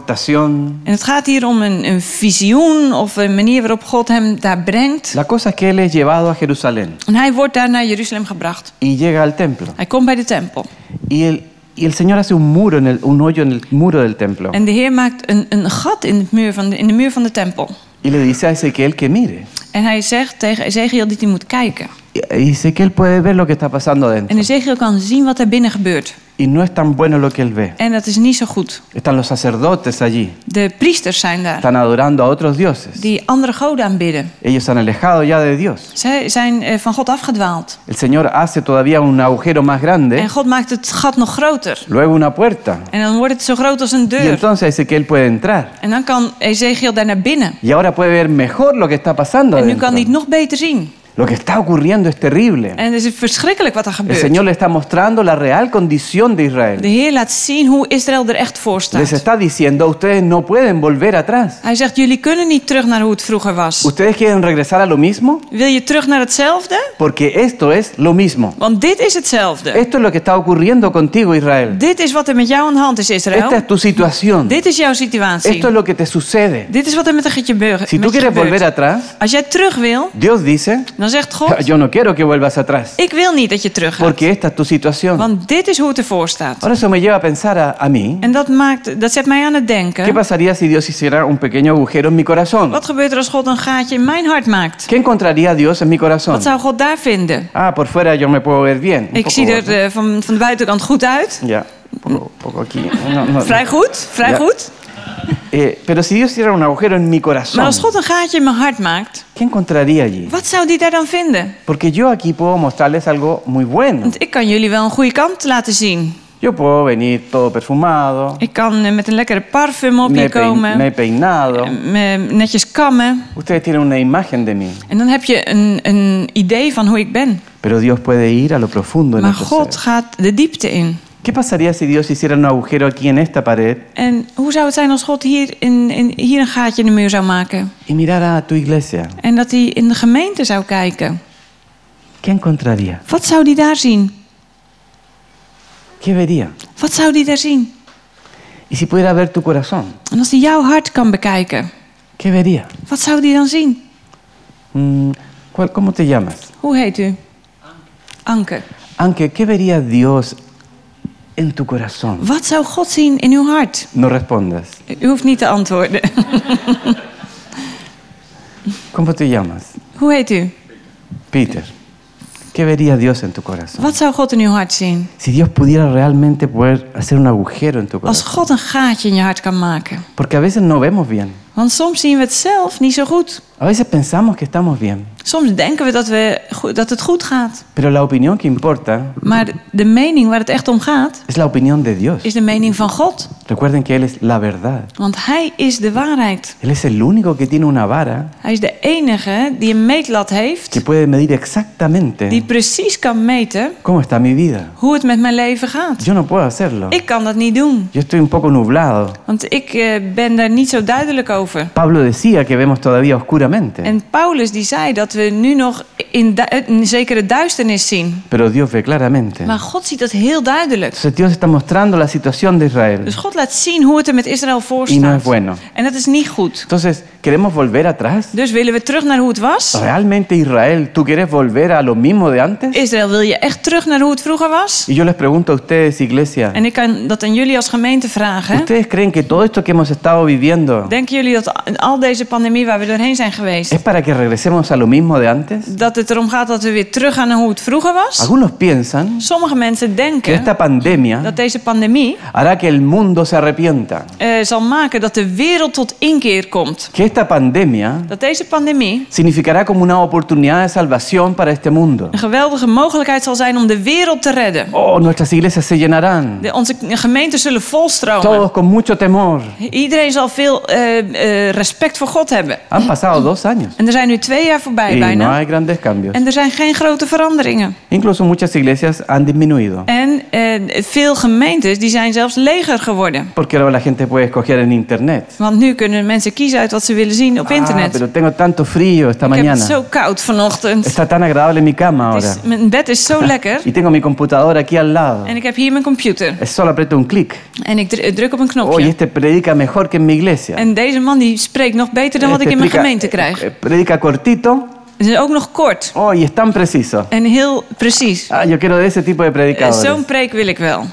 Speaker 1: transportación.
Speaker 2: En het gaat hier om een, een visioen of een manier waarop God hem daar brengt.
Speaker 1: La cosa es que él es llevado a Jerusalén
Speaker 2: En hij wordt daar naar Jeruzalem gebracht.
Speaker 1: y llega al templo.
Speaker 2: Hij komt bij de tempel.
Speaker 1: Y el, y el Señor hace un muro, en el, un hoyo en el muro del templo.
Speaker 2: En de Heer maakt een, een gat in, het muur van de, in de muur van de tempel.
Speaker 1: Y le dice a Ezequiel que mire.
Speaker 2: En hij zegt tegen Ezekiel dat hij moet kijken.
Speaker 1: Y y Ezequiel puede ver lo que está pasando
Speaker 2: En
Speaker 1: adentro.
Speaker 2: Ezekiel kan zien wat er binnen gebeurt.
Speaker 1: Y no es tan bueno lo que él ve.
Speaker 2: En dat is niet zo goed.
Speaker 1: Están los sacerdotes allí.
Speaker 2: De priesters zijn daar,
Speaker 1: Están adorando a otros dioses.
Speaker 2: die andere goden aanbidden.
Speaker 1: Ellos se han alejado ya de Dios.
Speaker 2: Zij zijn eh, van God afgedwaald.
Speaker 1: El Señor hace todavía un agujero más grande,
Speaker 2: En God maakt het gat nog groter.
Speaker 1: luego una puerta.
Speaker 2: En dan wordt het zo groot als een
Speaker 1: Y
Speaker 2: deur.
Speaker 1: entonces Ezequiel puede entrar.
Speaker 2: En dan kan Ezekiel daar naar binnen.
Speaker 1: Y ahora puede ver mejor lo que está pasando.
Speaker 2: En nu
Speaker 1: adentro.
Speaker 2: kan hij het nog beter zien.
Speaker 1: Lo que está ocurriendo es terrible.
Speaker 2: En het is verschrikkelijk wat er
Speaker 1: El
Speaker 2: gebeurt.
Speaker 1: Señor le está mostrando la real condición de
Speaker 2: De
Speaker 1: Israel.
Speaker 2: Heer laat zien hoe Israël er echt voor
Speaker 1: Les
Speaker 2: staat.
Speaker 1: está diciendo, ustedes no pueden volver atrás.
Speaker 2: Hij zegt, jullie kunnen niet terug naar hoe het vroeger was.
Speaker 1: ¿Ustedes quieren regresar a lo mismo?
Speaker 2: Wil je terug naar hetzelfde?
Speaker 1: Porque esto es lo mismo.
Speaker 2: Want dit is hetzelfde.
Speaker 1: Esto es lo que está ocurriendo contigo, Israel.
Speaker 2: Dit is wat er met jou aan de hand is,
Speaker 1: Esta
Speaker 2: Israël.
Speaker 1: es tu situación.
Speaker 2: Dit is jouw situatie.
Speaker 1: Esto es lo que te sucede.
Speaker 2: Dit is wat er met een getje beur-
Speaker 1: Si tú
Speaker 2: met je
Speaker 1: quieres volver
Speaker 2: gebeurt.
Speaker 1: atrás,
Speaker 2: Als jij terug wil,
Speaker 1: Dios dice,
Speaker 2: dan zegt God...
Speaker 1: yo no quiero que vuelvas atrás,
Speaker 2: Ik wil niet dat je terug gaat.
Speaker 1: porque esta es tu situación.
Speaker 2: Want dit is hoe het ervoor staat.
Speaker 1: Ahora eso me lleva a pensar a, a mí,
Speaker 2: En dat, maakt, dat zet mij aan het
Speaker 1: ¿qué
Speaker 2: denken.
Speaker 1: pasaría si Dios hiciera un pequeño agujero en mi corazón?
Speaker 2: Wat gebeurt er als God een gaatje in mijn hart maakt?
Speaker 1: ¿Qué encontraría Dios en mi corazón?
Speaker 2: Wat zou God daar vinden?
Speaker 1: Ah, por fuera yo me puedo ver bien. Un
Speaker 2: Ik
Speaker 1: poco
Speaker 2: zie er
Speaker 1: gordo.
Speaker 2: eh, van, van de buitenkant goed uit.
Speaker 1: Ya, un poco, un poco aquí. No, no, no.
Speaker 2: Vrij goed, vrij
Speaker 1: Ja.
Speaker 2: goed.
Speaker 1: Eh, pero si Dios hiciera un agujero en mi
Speaker 2: Maar
Speaker 1: corazón,
Speaker 2: als God een gaatje in mijn hart maakt,
Speaker 1: ¿qué encontraría allí?
Speaker 2: wat zou die daar dan vinden?
Speaker 1: Porque yo aquí puedo mostrarles algo muy bueno.
Speaker 2: Want ik kan jullie wel een goede kant laten zien.
Speaker 1: Yo puedo venir todo perfumado,
Speaker 2: Ik kan eh, met een lekkere parfum op
Speaker 1: me
Speaker 2: je
Speaker 1: he, pein-
Speaker 2: komen,
Speaker 1: me he peinado.
Speaker 2: eh, me netjes kammen.
Speaker 1: Ustedes tienen una imagen de mí,
Speaker 2: En dan heb je een, een idee van hoe ik ben.
Speaker 1: pero Dios puede ir a lo profundo en
Speaker 2: Maar
Speaker 1: nuestro
Speaker 2: God
Speaker 1: ser.
Speaker 2: gaat de diepte in.
Speaker 1: ¿Qué pasaría si Dios hiciera un agujero aquí en esta pared
Speaker 2: En hoe zou het zijn als God hier, in, in, hier een gaatje in de muur zou maken?
Speaker 1: y mirara a tu iglesia?
Speaker 2: En dat hij in de gemeente zou kijken.
Speaker 1: ¿Qué encontraría?
Speaker 2: Wat zou die daar zien?
Speaker 1: ¿Qué vería?
Speaker 2: Wat zou die daar zien?
Speaker 1: Y si pudiera ver tu corazón,
Speaker 2: En als hij jouw hart kan bekijken,
Speaker 1: ¿qué vería?
Speaker 2: wat zou die dan zien?
Speaker 1: Mm, ¿cuál- ¿Cómo te llamas?
Speaker 2: Hoe heet u? Anke.
Speaker 1: Aunque, ¿qué vería Dios en tu corazón?
Speaker 2: Wat zou God zien in uw hart?
Speaker 1: No respondas.
Speaker 2: U hoeft niet te antwoorden.
Speaker 1: ¿Cómo te llamas?
Speaker 2: Hoe heet u?
Speaker 1: Peter. ¿Qué vería Dios en tu corazón?
Speaker 2: Wat zou God in uw hart zien?
Speaker 1: Si Dios pudiera realmente poder hacer un agujero en tu
Speaker 2: Als
Speaker 1: corazón.
Speaker 2: God een gaatje in je hart kan maken.
Speaker 1: Porque a veces no vemos bien.
Speaker 2: Want soms zien we het zelf niet zo goed.
Speaker 1: A veces pensamos que estamos bien.
Speaker 2: Soms denken we dat, we go- dat het goed gaat.
Speaker 1: Pero la opinión que importa
Speaker 2: Maar de- de mening waar het echt om gaat,
Speaker 1: es la opinión de Dios.
Speaker 2: is de mening van God.
Speaker 1: Recuerden que Él es la verdad.
Speaker 2: Want Hij is de waarheid.
Speaker 1: Él es el único que tiene una vara
Speaker 2: Hij is de enige die een meetlat heeft,
Speaker 1: que puede medir
Speaker 2: die
Speaker 1: exactamente
Speaker 2: precies kan meten
Speaker 1: cómo está mi vida.
Speaker 2: hoe het met mijn leven gaat.
Speaker 1: Yo no puedo hacerlo.
Speaker 2: Ik kan dat niet doen,
Speaker 1: Yo estoy un poco nublado.
Speaker 2: want ik eh, ben daar niet zo duidelijk over.
Speaker 1: Pablo decía que vemos todavía oscuramente,
Speaker 2: En Paulus die zei dat we nu nog in, du- eh, een zekere duisternis zien.
Speaker 1: pero Dios ve claramente.
Speaker 2: Maar God ziet dat heel duidelijk.
Speaker 1: Entonces Dios está mostrando la situación de Israel.
Speaker 2: Dus God laat zien hoe het er met Israël voor
Speaker 1: Y no es
Speaker 2: staat.
Speaker 1: bueno.
Speaker 2: En dat is niet goed.
Speaker 1: Entonces, ¿queremos volver atrás?
Speaker 2: Dus willen we terug naar hoe het was?
Speaker 1: Oh ¿Realmente Israel, tú quieres volver a lo mismo de antes?
Speaker 2: Israël, wil je echt terug naar hoe het vroeger was?
Speaker 1: Y yo les pregunto a ustedes, iglesia,
Speaker 2: En ik kan dat aan jullie als gemeente vragen.
Speaker 1: ¿ustedes creen que todo esto que hemos estado viviendo
Speaker 2: Denken jullie dat al deze pandemie waar we doorheen zijn geweest,
Speaker 1: es para que regresemos a lo mismo de antes?
Speaker 2: dat het erom gaat dat we weer teruggaan naar hoe het vroeger was?
Speaker 1: Algunos piensan
Speaker 2: Sommige mensen
Speaker 1: que
Speaker 2: denken
Speaker 1: esta pandemia
Speaker 2: dat deze pandemie
Speaker 1: hará que el mundo se arrepienta,
Speaker 2: eh, zal maken dat de wereld tot inkeer komt.
Speaker 1: que esta pandemia
Speaker 2: Dat deze pandemie
Speaker 1: significará como una oportunidad de salvación para este mundo.
Speaker 2: een geweldige mogelijkheid zal zijn om de wereld te redden.
Speaker 1: Oh, nuestras iglesias se llenarán,
Speaker 2: De, onze gemeenten zullen volstromen.
Speaker 1: todos con mucho temor.
Speaker 2: Iedereen zal veel eh, eh, respect voor God hebben.
Speaker 1: Han pasado dos años
Speaker 2: En er zijn nu twee jaar voorbij
Speaker 1: y no
Speaker 2: bijna.
Speaker 1: hay grandes cambios.
Speaker 2: En er zijn geen grote veranderingen.
Speaker 1: Incluso muchas iglesias han disminuido,
Speaker 2: En eh, veel gemeentes die zijn zelfs leger geworden.
Speaker 1: porque ahora la gente puede escoger en internet.
Speaker 2: Want nu kunnen mensen kiezen uit wat ze willen zien op
Speaker 1: Ah,
Speaker 2: internet.
Speaker 1: pero tengo tanto frío esta
Speaker 2: Ik heb het
Speaker 1: mañana. Oh,
Speaker 2: zo koud vanochtend.
Speaker 1: Está tan agradable mi cama
Speaker 2: Het
Speaker 1: ahora.
Speaker 2: is- mijn bed is zo lekker.
Speaker 1: Y tengo mi computadora aquí al lado.
Speaker 2: En ik heb hier mijn computer.
Speaker 1: Es solo aprieto un clic.
Speaker 2: En ik dru- druk op een
Speaker 1: Oye,
Speaker 2: knopje.
Speaker 1: este predica mejor que en mi iglesia.
Speaker 2: En deze man die spreekt nog beter dan wat ik
Speaker 1: Este
Speaker 2: in mijn
Speaker 1: explica-
Speaker 2: gemeente krijg.
Speaker 1: eh, Predica cortito.
Speaker 2: Het is ook nog kort.
Speaker 1: Oh, y es tan preciso.
Speaker 2: En heel precies.
Speaker 1: Ah, yo quiero de ese tipo de
Speaker 2: Eh,
Speaker 1: predicadores.
Speaker 2: Zo'n preek wil ik wel.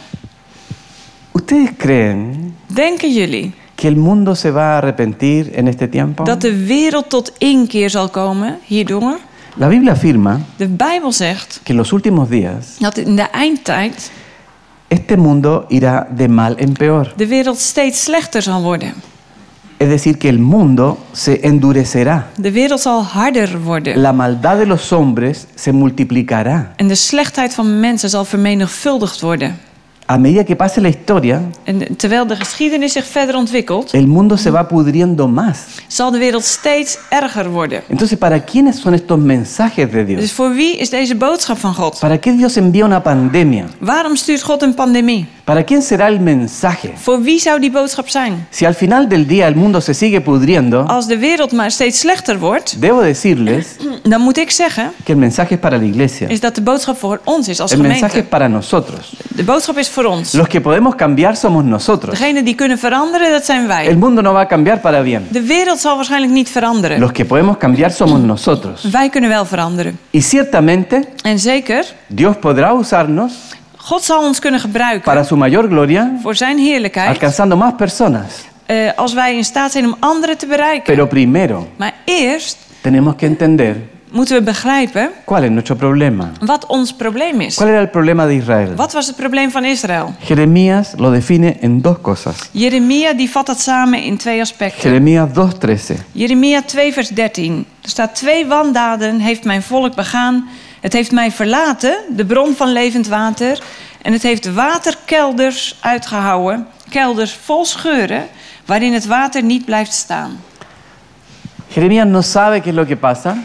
Speaker 1: ¿Ustedes creen
Speaker 2: Denken jullie
Speaker 1: que el mundo se va a arrepentir en este tiempo?
Speaker 2: dat de wereld tot inkeer zal komen hierdoor?
Speaker 1: La Biblia afirma
Speaker 2: De Bijbel zegt
Speaker 1: que en los últimos días
Speaker 2: dat in de eindtijd
Speaker 1: este mundo irá de mal en peor.
Speaker 2: de wereld steeds slechter zal worden.
Speaker 1: Es decir, que el mundo se endurecerá.
Speaker 2: De wereld zal harder worden.
Speaker 1: La maldad de los hombres se multiplicará.
Speaker 2: En de slechtheid van mensen zal vermenigvuldigd worden.
Speaker 1: A medida que pase la historia,
Speaker 2: En terwijl de geschiedenis zich verder ontwikkelt,
Speaker 1: el mundo se va pudriendo más.
Speaker 2: zal de wereld steeds erger worden.
Speaker 1: Entonces, ¿para quiénes son estos mensajes de
Speaker 2: Dus
Speaker 1: Dios?
Speaker 2: voor wie is deze boodschap van God?
Speaker 1: ¿Para qué Dios envía una pandemia?
Speaker 2: Waarom stuurt God een pandemie?
Speaker 1: ¿Para quién será el mensaje?
Speaker 2: Voor wie zou die boodschap zijn?
Speaker 1: Si al final del día el mundo se sigue pudriendo,
Speaker 2: Als de wereld maar steeds slechter wordt,
Speaker 1: debo decirles
Speaker 2: dan moet ik zeggen
Speaker 1: que el mensaje es para la iglesia.
Speaker 2: is dat de boodschap voor ons is als
Speaker 1: El mensaje es
Speaker 2: gemeente.
Speaker 1: para nosotros.
Speaker 2: De boodschap is voor ons.
Speaker 1: Los que podemos cambiar somos nosotros.
Speaker 2: Degene die kunnen veranderen, dat zijn wij.
Speaker 1: El mundo no va a cambiar para bien.
Speaker 2: De wereld zal waarschijnlijk niet veranderen.
Speaker 1: Los que podemos cambiar somos nosotros.
Speaker 2: Wij kunnen wel veranderen.
Speaker 1: Y ciertamente
Speaker 2: En zeker,
Speaker 1: Dios podrá usarnos
Speaker 2: God zal ons kunnen gebruiken
Speaker 1: para su mayor gloria,
Speaker 2: voor zijn heerlijkheid.
Speaker 1: alcanzando más personas.
Speaker 2: eh, als wij in staat zijn om anderen te bereiken.
Speaker 1: Pero primero
Speaker 2: Maar eerst
Speaker 1: tenemos que entender
Speaker 2: moeten we begrijpen
Speaker 1: cuál es nuestro problema.
Speaker 2: wat ons probleem is.
Speaker 1: ¿Cuál era el problema de Israel?
Speaker 2: Wat was het probleem van Israël?
Speaker 1: Jeremías lo define en dos cosas.
Speaker 2: Jeremia die vat dat samen in twee aspecten.
Speaker 1: Jeremías 2.13.
Speaker 2: Jeremia 2, vers 13. Er staat: Twee wandaden heeft mijn volk begaan. Het heeft mij verlaten, de bron van levend water. En het heeft waterkelders uitgehouwen. Kelders vol scheuren, waarin het water niet blijft staan.
Speaker 1: Jeremías no sabe qué es lo que pasa,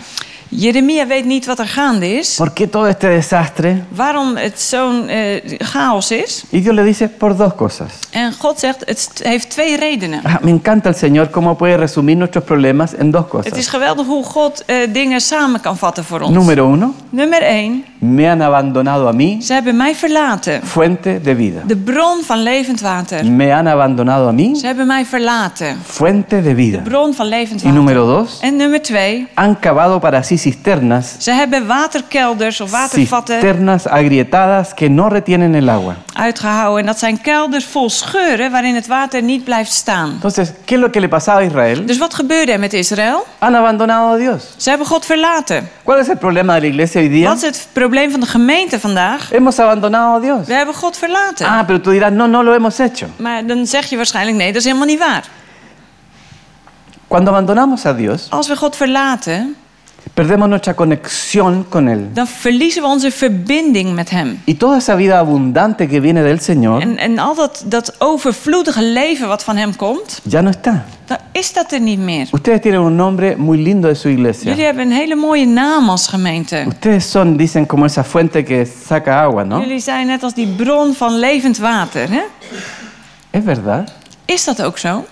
Speaker 2: Jeremia weet niet wat er gaande is.
Speaker 1: ¿Por qué todo este desastre?
Speaker 2: Waarom het zo'n eh, chaos is.
Speaker 1: Y Dios le dice, por dos cosas.
Speaker 2: En God zegt, het st- heeft twee redenen.
Speaker 1: Ah, me encanta el Señor cómo puede resumir nuestros problemas en dos
Speaker 2: Het is
Speaker 1: cosas.
Speaker 2: geweldig hoe God eh, dingen samen kan vatten voor ons.
Speaker 1: Número uno,
Speaker 2: Nummer 1.
Speaker 1: me han abandonado a mí,
Speaker 2: Ze hebben mij verlaten.
Speaker 1: fuente de vida.
Speaker 2: De bron van levend water.
Speaker 1: Me han abandonado a mí,
Speaker 2: Ze hebben mij verlaten.
Speaker 1: fuente de vida.
Speaker 2: Bron van levend
Speaker 1: Y
Speaker 2: water.
Speaker 1: número dos,
Speaker 2: En nummer 2.
Speaker 1: han cavado para sí cisternas,
Speaker 2: Ze hebben waterkelders of watervatten
Speaker 1: cisternas agrietadas que no retienen el agua.
Speaker 2: uitgehouden. En dat zijn kelders vol scheuren waarin het water niet blijft staan.
Speaker 1: Entonces, ¿qué es lo que le pasaba a Israel?
Speaker 2: Dus wat gebeurde er met Israël?
Speaker 1: Han abandonado a Dios.
Speaker 2: Ze hebben God verlaten.
Speaker 1: ¿Cuál es el problema de la iglesia hoy
Speaker 2: Wat
Speaker 1: día?
Speaker 2: is het probleem van de gemeente vandaag?
Speaker 1: Hemos abandonado a Dios.
Speaker 2: We hebben God verlaten.
Speaker 1: Ah, pero tú dirás, no, no lo hemos hecho.
Speaker 2: Maar dan zeg je waarschijnlijk nee, dat is helemaal niet waar.
Speaker 1: Cuando abandonamos a Dios,
Speaker 2: Als we God verlaten,
Speaker 1: perdemos nuestra conexión con Él.
Speaker 2: dan verliezen we onze verbinding met Hem.
Speaker 1: Y toda esa vida abundante que viene del Señor
Speaker 2: En, en al dat, dat overvloedige leven wat van Hem komt,
Speaker 1: ya no está.
Speaker 2: dan is dat er niet meer.
Speaker 1: Ustedes tienen un nombre muy lindo de su
Speaker 2: Jullie
Speaker 1: iglesia.
Speaker 2: hebben een hele mooie naam als gemeente.
Speaker 1: Ustedes son, dicen, como esa fuente que saca agua, ¿no?
Speaker 2: Jullie zijn net als die bron van levend water. Hè?
Speaker 1: Es verdad.
Speaker 2: Is dat ook zo?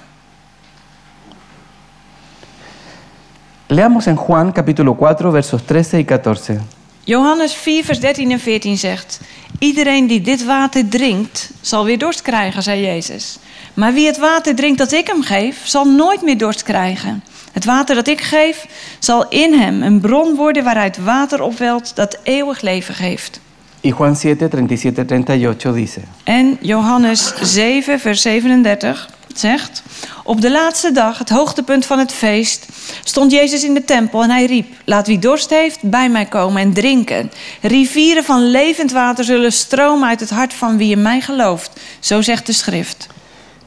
Speaker 1: Leamos en Juan capítulo 4, versos 13 y 14.
Speaker 2: Johannes 4, vers 13 en 14 zegt: Iedereen die dit water drinkt, zal weer dorst krijgen, zei Jezus. Maar wie het water drinkt dat ik hem geef, zal nooit meer dorst krijgen. Het water dat ik geef, zal in hem een bron worden waaruit water opwelt dat eeuwig leven geeft.
Speaker 1: Y Juan 7, 37, 38 dice,
Speaker 2: En Johannes 7, vers 37 zegt: Op de laatste dag, het hoogtepunt van het feest, stond Jezus in de tempel en hij riep: Laat wie dorst heeft bij mij komen en drinken. Rivieren van levend water zullen stromen uit het hart van wie in mij gelooft. Zo zegt de schrift.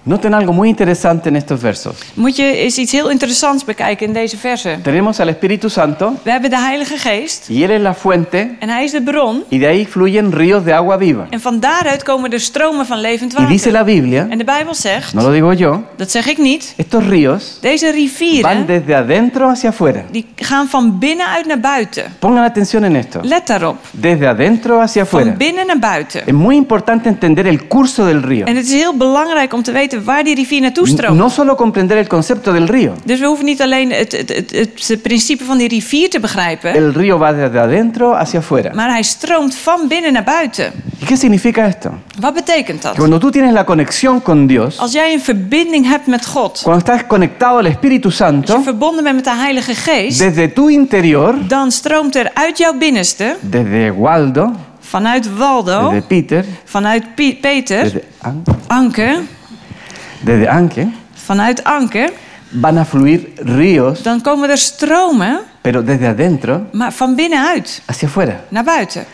Speaker 1: noten algo muy interesante en estos versos.
Speaker 2: Moet je eens iets heel interessants bekijken in deze versen.
Speaker 1: Tenemos al Espíritu Santo
Speaker 2: We hebben de Heilige Geest
Speaker 1: y Él es la fuente
Speaker 2: en hij is de bron.
Speaker 1: y de ahí fluyen ríos de agua viva.
Speaker 2: En van daaruit komen de stromen van levend
Speaker 1: Y dice
Speaker 2: water.
Speaker 1: la Biblia,
Speaker 2: En de Bijbel zegt:
Speaker 1: no lo digo yo,
Speaker 2: Dat zeg ik niet.
Speaker 1: estos ríos
Speaker 2: Deze rivieren.
Speaker 1: van desde adentro hacia afuera.
Speaker 2: Die gaan van binnenuit naar buiten.
Speaker 1: Pongan atención en esto.
Speaker 2: Let daarop.
Speaker 1: Desde adentro hacia afuera.
Speaker 2: Van binnen naar buiten.
Speaker 1: Es muy importante entender el curso del río.
Speaker 2: En het is heel belangrijk om te weten waar die rivier naartoe stroomt.
Speaker 1: No solo comprender el concepto del río.
Speaker 2: Dus we hoeven niet alleen het, het, het, het, het principe van die rivier te begrijpen.
Speaker 1: El río va desde adentro hacia afuera.
Speaker 2: Maar hij stroomt van binnen naar buiten.
Speaker 1: ¿Y qué significa esto?
Speaker 2: Wat betekent
Speaker 1: Que
Speaker 2: dat?
Speaker 1: Cuando tú tienes la conexión con Dios,
Speaker 2: Als jij een verbinding hebt met God.
Speaker 1: cuando estás conectado al Espíritu
Speaker 2: Als je
Speaker 1: Santo,
Speaker 2: verbonden bent met de Heilige Geest.
Speaker 1: desde tu interior,
Speaker 2: Dan stroomt er uit jouw binnenste.
Speaker 1: desde Waldo,
Speaker 2: Vanuit Waldo.
Speaker 1: desde Peter,
Speaker 2: ¿Eh? Vanuit Pi- Peter.
Speaker 1: desde, An-
Speaker 2: Anke.
Speaker 1: desde Anke,
Speaker 2: Vanuit Anke.
Speaker 1: van a fluir ríos,
Speaker 2: Dan komen er stromen.
Speaker 1: pero desde adentro
Speaker 2: Maar van binnenuit.
Speaker 1: hacia afuera.
Speaker 2: naar buiten.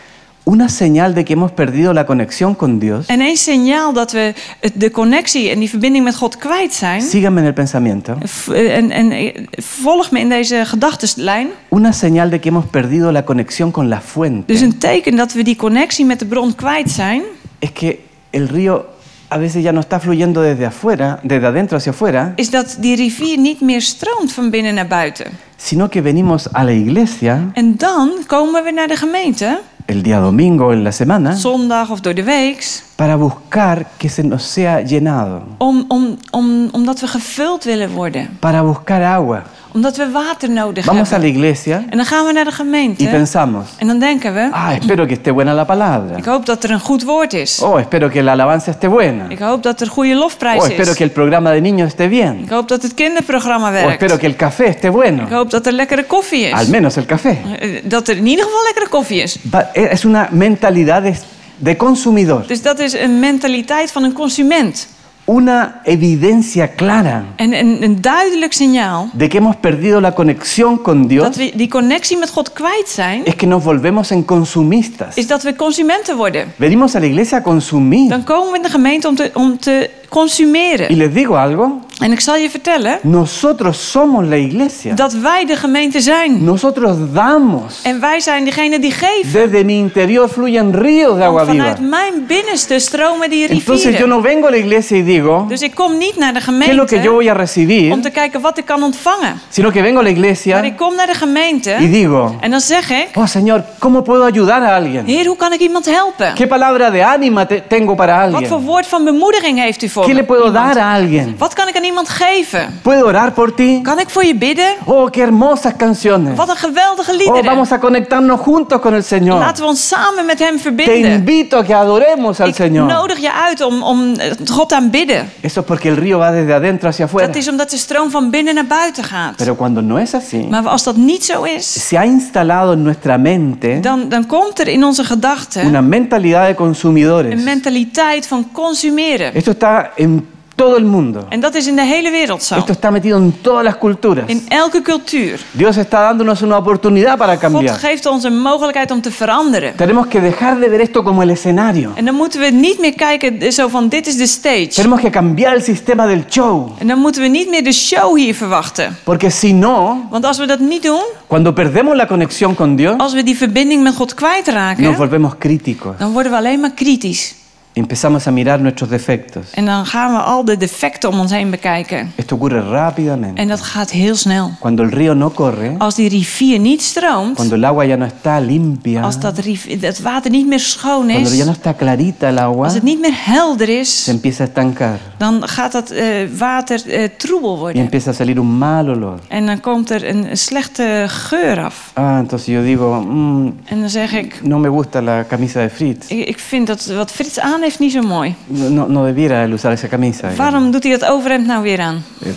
Speaker 1: Una señal de que hemos perdido la conexión con Dios,
Speaker 2: En één signaal dat we het- de connectie en die verbinding met God kwijt zijn.
Speaker 1: síganme en el pensamiento,
Speaker 2: v- En, en eh, volg me in deze gedachtenlijn.
Speaker 1: una señal de que hemos perdido la conexión con la
Speaker 2: Dus
Speaker 1: fuente,
Speaker 2: een teken dat we die connectie met de bron kwijt zijn.
Speaker 1: es que el río a veces ya no está fluyendo desde afuera, desde adentro hacia afuera,
Speaker 2: Is dat die rivier niet meer stroomt van binnen naar buiten.
Speaker 1: sino que venimos a la iglesia
Speaker 2: En dan komen we naar de gemeente.
Speaker 1: el día domingo en la semana
Speaker 2: Zondag of door de week.
Speaker 1: para buscar que se nos sea llenado,
Speaker 2: Om, om, om, omdat we gevuld willen worden.
Speaker 1: para buscar agua.
Speaker 2: Omdat we water nodig
Speaker 1: Vamos a
Speaker 2: hebben.
Speaker 1: la iglesia
Speaker 2: En dan gaan we naar de
Speaker 1: y
Speaker 2: gemeente.
Speaker 1: pensamos,
Speaker 2: En dan denken we.
Speaker 1: ah, espero que esté buena la palabra,
Speaker 2: Ik hoop dat er een goed woord is.
Speaker 1: oh, espero que la alabanza esté buena,
Speaker 2: Ik hoop dat er goede lofprijs
Speaker 1: oh, espero
Speaker 2: is.
Speaker 1: que el programa de niños esté bien,
Speaker 2: Ik hoop dat het kinderprogramma
Speaker 1: o
Speaker 2: werkt.
Speaker 1: espero que el café esté bueno,
Speaker 2: Ik hoop dat er lekkere koffie is.
Speaker 1: al menos el café.
Speaker 2: Eh, Dat er in ieder geval lekkere koffie is.
Speaker 1: Va- e, Es una mentalidad de, de consumidor,
Speaker 2: Dus dat is een mentaliteit van een consument.
Speaker 1: una evidencia clara
Speaker 2: En een, een duidelijk signaal
Speaker 1: de que hemos perdido la conexión con
Speaker 2: dat
Speaker 1: Dios
Speaker 2: we die connectie met God kwijt zijn,
Speaker 1: es que nos volvemos en consumistas.
Speaker 2: is dat we consumenten worden.
Speaker 1: Venimos a la iglesia a consumir.
Speaker 2: Dan komen we in de gemeente om te, om te consumeren.
Speaker 1: Y les digo algo,
Speaker 2: En ik zal je vertellen
Speaker 1: Nosotros somos la iglesia.
Speaker 2: dat wij de gemeente zijn.
Speaker 1: Nosotros damos.
Speaker 2: En wij zijn degene die geven.
Speaker 1: Desde mi interior fluyen ríos de agua
Speaker 2: Want
Speaker 1: viva.
Speaker 2: vanuit mijn binnenste stromen die
Speaker 1: Entonces yo
Speaker 2: rivieren.
Speaker 1: no vengo a la iglesia y digo,
Speaker 2: Dus ik kom niet naar de
Speaker 1: ¿qué es lo que yo
Speaker 2: gemeente
Speaker 1: voy a
Speaker 2: om
Speaker 1: recibir?
Speaker 2: te kijken wat ik kan ontvangen.
Speaker 1: Sino que vengo a la
Speaker 2: Maar
Speaker 1: iglesia
Speaker 2: ik kom naar de
Speaker 1: y
Speaker 2: gemeente
Speaker 1: digo,
Speaker 2: en dan zeg ik...
Speaker 1: oh Señor, ¿cómo puedo ayudar a alguien?
Speaker 2: Heer, hoe kan ik iemand helpen?
Speaker 1: ¿Qué palabra de ánima te- tengo para
Speaker 2: Wat voor
Speaker 1: alguien?
Speaker 2: woord van bemoediging heeft u voor
Speaker 1: ¿Qué
Speaker 2: me?
Speaker 1: le puedo
Speaker 2: Iemand.
Speaker 1: dar a alguien?
Speaker 2: Wat kan ik aan iemand geven?
Speaker 1: ¿Puedo orar por ti?
Speaker 2: Kan ik voor je bidden?
Speaker 1: Oh, qué hermosas canciones.
Speaker 2: Wat een geweldige
Speaker 1: Oh,
Speaker 2: liederen.
Speaker 1: vamos a conectarnos juntos con el Señor.
Speaker 2: Laten we ons samen met hem
Speaker 1: Te
Speaker 2: verbinden.
Speaker 1: invito a que adoremos al
Speaker 2: Ik
Speaker 1: Señor.
Speaker 2: nodig je uit om, om eh, God aan bidden.
Speaker 1: Eso es porque el río va desde adentro hacia afuera.
Speaker 2: Dat is omdat de stroom van binnen naar buiten gaat.
Speaker 1: Pero cuando no es así,
Speaker 2: Maar als dat niet zo is,
Speaker 1: se ha instalado en nuestra mente
Speaker 2: dan, dan komt er in onze gedachten
Speaker 1: una mentalidad de
Speaker 2: een
Speaker 1: consumidores.
Speaker 2: mentaliteit van consumeren.
Speaker 1: Esto está en todo el mundo.
Speaker 2: En dat is in de hele wereld zo.
Speaker 1: Esto está metido en todas las culturas.
Speaker 2: In elke cultuur.
Speaker 1: Dios está dándonos una oportunidad para
Speaker 2: God
Speaker 1: cambiar.
Speaker 2: geeft ons een mogelijkheid om te veranderen.
Speaker 1: Tenemos que dejar de ver esto como el escenario.
Speaker 2: En dan moeten we niet meer kijken eh, zo van dit is de stage.
Speaker 1: Tenemos que cambiar el sistema del show.
Speaker 2: En dan moeten we niet meer de show hier verwachten.
Speaker 1: Porque si no,
Speaker 2: Want als we dat niet doen,
Speaker 1: cuando perdemos la conexión con Dios,
Speaker 2: als we die verbinding met God
Speaker 1: nos
Speaker 2: kwijtraken,
Speaker 1: volvemos críticos.
Speaker 2: dan worden we alleen maar kritisch.
Speaker 1: Empezamos a mirar nuestros defectos.
Speaker 2: En dan gaan we al de defecten om ons heen bekijken.
Speaker 1: Esto ocurre rápidamente.
Speaker 2: En Oh, dat gaat heel snel.
Speaker 1: Cuando el río no corre,
Speaker 2: Als die rivier niet stroomt,
Speaker 1: cuando el agua ya no está limpia,
Speaker 2: als dat, riv- dat water niet meer schoon
Speaker 1: cuando ya
Speaker 2: is,
Speaker 1: no está clarita el agua,
Speaker 2: als het niet meer helder
Speaker 1: se
Speaker 2: is,
Speaker 1: empieza a estancar
Speaker 2: dan gaat dat eh, water eh, troebel
Speaker 1: y
Speaker 2: worden.
Speaker 1: empieza a salir un mal olor.
Speaker 2: En dan komt er een slechte geur af.
Speaker 1: Ah, entonces yo digo, "Mm,
Speaker 2: En dan zeg ik,
Speaker 1: no me gusta la camisa de Fritz.
Speaker 2: Ik, ik vind dat wat Frits aan heeft niet zo mooi.
Speaker 1: No, no debiera él usar esa camisa. digamos.
Speaker 2: Waarom doet hij dat overhemd nou weer aan?
Speaker 1: Eh,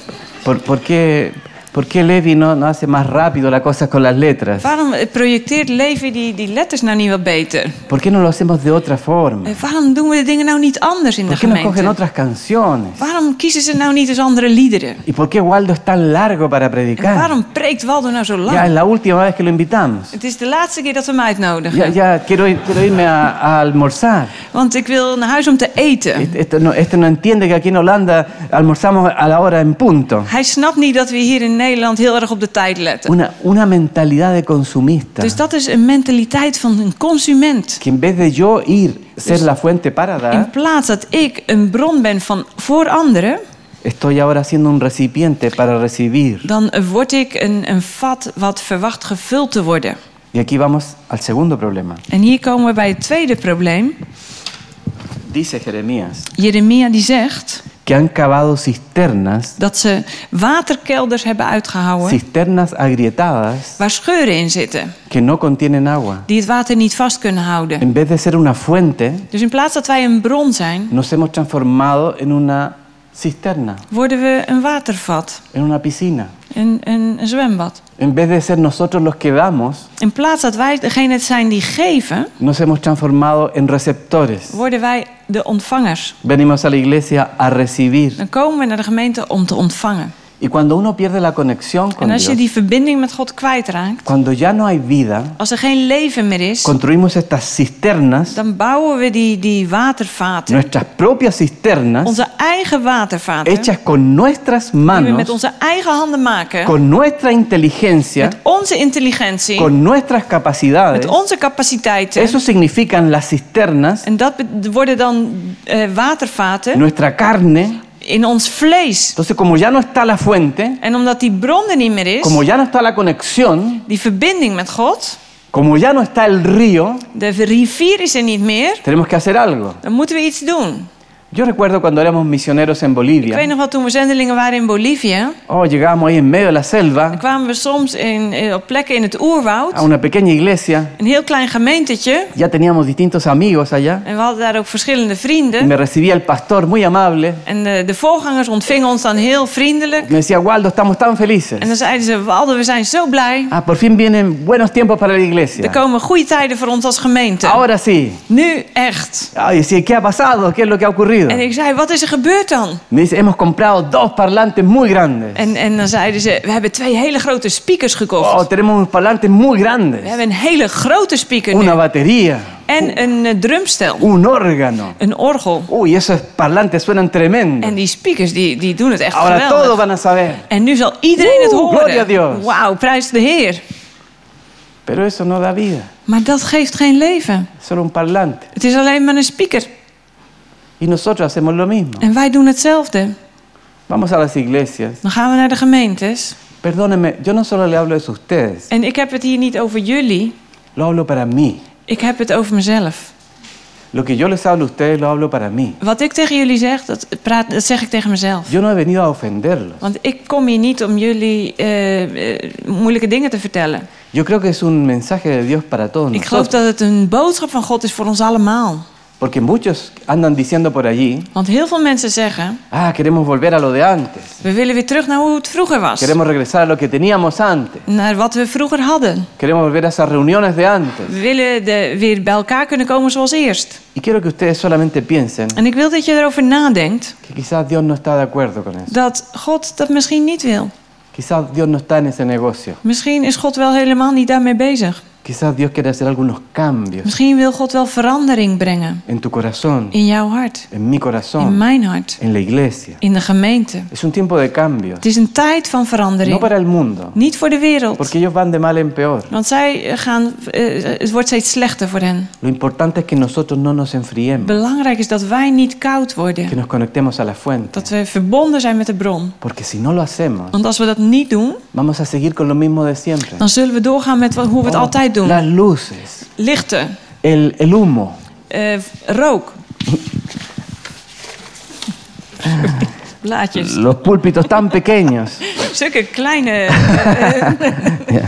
Speaker 1: ¿Por, por qué, por qué Levi no, no hace más rápido la cosa con las letras?
Speaker 2: Waarom eh, projecteert Levi die, die letters nou niet wat beter?
Speaker 1: ¿Por qué no lo hacemos de otra forma?
Speaker 2: Eh, waarom doen we de dingen nou niet anders in de
Speaker 1: ¿Por qué no cogen
Speaker 2: gemeente?
Speaker 1: otras canciones?
Speaker 2: Waarom kiezen ze nou niet eens andere liederen?
Speaker 1: ¿Y por qué Waldo es tan largo para
Speaker 2: En
Speaker 1: predicar?
Speaker 2: waarom preekt Waldo nou zo
Speaker 1: Ya
Speaker 2: lang?
Speaker 1: es la última vez que lo invitamos.
Speaker 2: Het is de laatste keer dat we hem
Speaker 1: Ya,
Speaker 2: uitnodigen.
Speaker 1: ya quiero, ir- quiero irme a, a almorzar.
Speaker 2: Want ik wil naar huis om te eten.
Speaker 1: Este, este no, este no entiende que aquí en Holanda almorzamos a la hora en punto.
Speaker 2: Hij snapt niet dat we hier in Nederland heel erg op de tijd letten.
Speaker 1: Una, una mentalidad de consumista.
Speaker 2: Dus dat is een mentaliteit van een consument.
Speaker 1: Que en vez de yo ir, ser la fuente para
Speaker 2: In
Speaker 1: dar,
Speaker 2: plaats dat ik een bron ben van voor anderen,
Speaker 1: estoy ahora siendo un recipiente para recibir.
Speaker 2: dan word ik een, een vat wat verwacht gevuld te worden.
Speaker 1: Y aquí vamos al segundo problema.
Speaker 2: En hier komen we bij het tweede probleem.
Speaker 1: Dice Jeremías
Speaker 2: Jeremia die zegt
Speaker 1: que han cavado cisternas,
Speaker 2: dat ze waterkelders hebben uitgehouden
Speaker 1: cisternas agrietadas
Speaker 2: waar scheuren in zitten,
Speaker 1: que no contienen agua.
Speaker 2: die het water niet vast kunnen houden.
Speaker 1: En vez de ser una fuente,
Speaker 2: Dus in plaats dat wij een bron zijn,
Speaker 1: nos hemos transformado en una cisterna,
Speaker 2: worden we een watervat,
Speaker 1: en una piscina.
Speaker 2: een, een, een zwembad.
Speaker 1: En vez de ser nosotros los que damos,
Speaker 2: In plaats dat wij degene zijn die geven,
Speaker 1: nos hemos transformado en receptores.
Speaker 2: worden wij de ontvangers.
Speaker 1: Venimos a la iglesia a recibir.
Speaker 2: Dan komen we naar de gemeente om te ontvangen.
Speaker 1: Y cuando uno pierde la conexión con
Speaker 2: En als je
Speaker 1: Dios,
Speaker 2: die verbinding met God kwijtraakt,
Speaker 1: cuando ya no hay vida,
Speaker 2: als er geen leven meer is,
Speaker 1: construimos estas cisternas,
Speaker 2: Dan bouwen we die, die watervaten,
Speaker 1: nuestras propias cisternas,
Speaker 2: onze eigen watervaten, die
Speaker 1: hechas con nuestras
Speaker 2: we met
Speaker 1: manos,
Speaker 2: onze eigen handen maken,
Speaker 1: con nuestra inteligencia,
Speaker 2: met onze intelligentie,
Speaker 1: con nuestras capacidades.
Speaker 2: met onze capaciteiten.
Speaker 1: Eso significan las cisternas,
Speaker 2: En dat be- worden dan eh, watervaten
Speaker 1: nuestra carne,
Speaker 2: in ons vlees.
Speaker 1: Entonces, como ya no está la fuente,
Speaker 2: En omdat die bron er niet meer
Speaker 1: como
Speaker 2: is,
Speaker 1: ya no está la conexión,
Speaker 2: die verbinding met God,
Speaker 1: como ya no está el río,
Speaker 2: de rivier is er niet meer,
Speaker 1: tenemos que hacer algo.
Speaker 2: dan moeten we iets doen.
Speaker 1: Yo recuerdo cuando éramos misioneros en
Speaker 2: Ik weet
Speaker 1: Bolivia.
Speaker 2: nog wel, toen we zendelingen waren in Bolivia,
Speaker 1: Oh, llegábamos ahí en medio de la
Speaker 2: dan
Speaker 1: selva
Speaker 2: kwamen we soms in, eh, op plekken in het oerwoud,
Speaker 1: a una pequeña iglesia.
Speaker 2: een heel klein gemeentetje.
Speaker 1: Ya teníamos distintos amigos allá.
Speaker 2: En we hadden daar ook verschillende
Speaker 1: Y
Speaker 2: vrienden.
Speaker 1: me recibía el pastor muy amable.
Speaker 2: En de, de voorgangers ontvingen ons dan heel vriendelijk.
Speaker 1: Me decía, Waldo, estamos tan
Speaker 2: En
Speaker 1: felices.
Speaker 2: dan zeiden ze, Walden, we zijn zo blij.
Speaker 1: Ah, por fin vienen buenos tiempos para la
Speaker 2: Er
Speaker 1: iglesia.
Speaker 2: komen goede tijden voor ons als gemeente.
Speaker 1: Ahora sí.
Speaker 2: Nu echt.
Speaker 1: Ay, sí, ¿qué ha pasado? ¿Qué es lo que ha ocurrido?
Speaker 2: En ik zei, wat is er gebeurd dan?
Speaker 1: Me dice, hemos comprado dos parlantes muy grandes.
Speaker 2: En, en dan zeiden ze, we hebben twee hele grote speakers
Speaker 1: Oh,
Speaker 2: gekocht.
Speaker 1: tenemos unos parlantes muy
Speaker 2: We
Speaker 1: grandes. nou,
Speaker 2: hebben een hele grote speaker nu.
Speaker 1: Una batería.
Speaker 2: En een eh, drumstel.
Speaker 1: un órgano.
Speaker 2: Een orgel.
Speaker 1: Uy, esos parlantes suenan tremendo.
Speaker 2: En die speakers die, die doen het echt
Speaker 1: Ahora todos
Speaker 2: geweldig.
Speaker 1: van a saber.
Speaker 2: En nu zal iedereen het
Speaker 1: Oeh, gloria a
Speaker 2: horen.
Speaker 1: Dios.
Speaker 2: Wauw, prijs de Heer.
Speaker 1: Pero eso no da vida,
Speaker 2: Maar dat geeft geen leven.
Speaker 1: es solo un parlante.
Speaker 2: Het is alleen maar een speaker.
Speaker 1: Y nosotros hacemos lo mismo.
Speaker 2: En wij doen hetzelfde.
Speaker 1: Vamos a las iglesias.
Speaker 2: Dan gaan we naar de gemeentes.
Speaker 1: Perdónenme, yo no solo le hablo de ustedes,
Speaker 2: En ik heb het hier niet over jullie.
Speaker 1: lo hablo para mí.
Speaker 2: Ik heb het over mezelf.
Speaker 1: Lo que yo les hablo a ustedes lo hablo para mí.
Speaker 2: Wat ik tegen jullie zeg, dat, praat, dat zeg ik tegen mezelf.
Speaker 1: Yo no he venido a ofenderlos.
Speaker 2: Want ik kom hier niet om jullie eh, eh, moeilijke dingen te vertellen.
Speaker 1: Yo creo que es un mensaje de Dios para todos
Speaker 2: Ik geloof
Speaker 1: nosotros.
Speaker 2: dat het een boodschap van God is voor ons allemaal.
Speaker 1: Porque muchos andan diciendo por allí,
Speaker 2: Want heel veel mensen zeggen,
Speaker 1: ah, queremos volver a lo de antes.
Speaker 2: we willen weer terug naar hoe het vroeger was.
Speaker 1: Queremos regresar a lo que teníamos antes.
Speaker 2: Naar wat we vroeger hadden.
Speaker 1: Queremos volver a esas reuniones de antes.
Speaker 2: We willen de, weer bij elkaar kunnen komen zoals eerst.
Speaker 1: Y quiero que ustedes solamente piensen
Speaker 2: En ik wil dat je erover nadenkt
Speaker 1: que quizás Dios no está de acuerdo con eso.
Speaker 2: dat God dat misschien niet wil.
Speaker 1: Quizás Dios no está en ese negocio.
Speaker 2: Misschien is God wel helemaal niet daarmee bezig.
Speaker 1: Quizás Dios quiere hacer algunos cambios
Speaker 2: Misschien wil God wel verandering brengen
Speaker 1: en tu corazón,
Speaker 2: in jouw hart,
Speaker 1: en mi
Speaker 2: in
Speaker 1: corazón,
Speaker 2: mijn hart,
Speaker 1: en la iglesia.
Speaker 2: in de gemeente.
Speaker 1: Es un tiempo de cambios,
Speaker 2: Het is een tijd van
Speaker 1: no
Speaker 2: verandering.
Speaker 1: para el mundo,
Speaker 2: Niet voor de wereld.
Speaker 1: porque ellos van de mal en peor.
Speaker 2: Want zij eh, gaan, eh, het wordt steeds slechter voor hen.
Speaker 1: Lo importante es que nosotros no nos enfriemos,
Speaker 2: Belangrijk is dat wij niet koud
Speaker 1: que
Speaker 2: worden.
Speaker 1: nos conectemos a la fuente,
Speaker 2: Dat we verbonden zijn met de bron.
Speaker 1: porque si no lo hacemos,
Speaker 2: Want als we dat niet doen,
Speaker 1: vamos a seguir con lo mismo de siempre.
Speaker 2: dan zullen we doorgaan met wat- hoe we het altijd doen.
Speaker 1: Las luces,
Speaker 2: Lichten,
Speaker 1: el, el humo,
Speaker 2: eh, rook. Blaadjes.
Speaker 1: los púlpitos tan pequeños.
Speaker 2: Stukken kleine. eh, eh,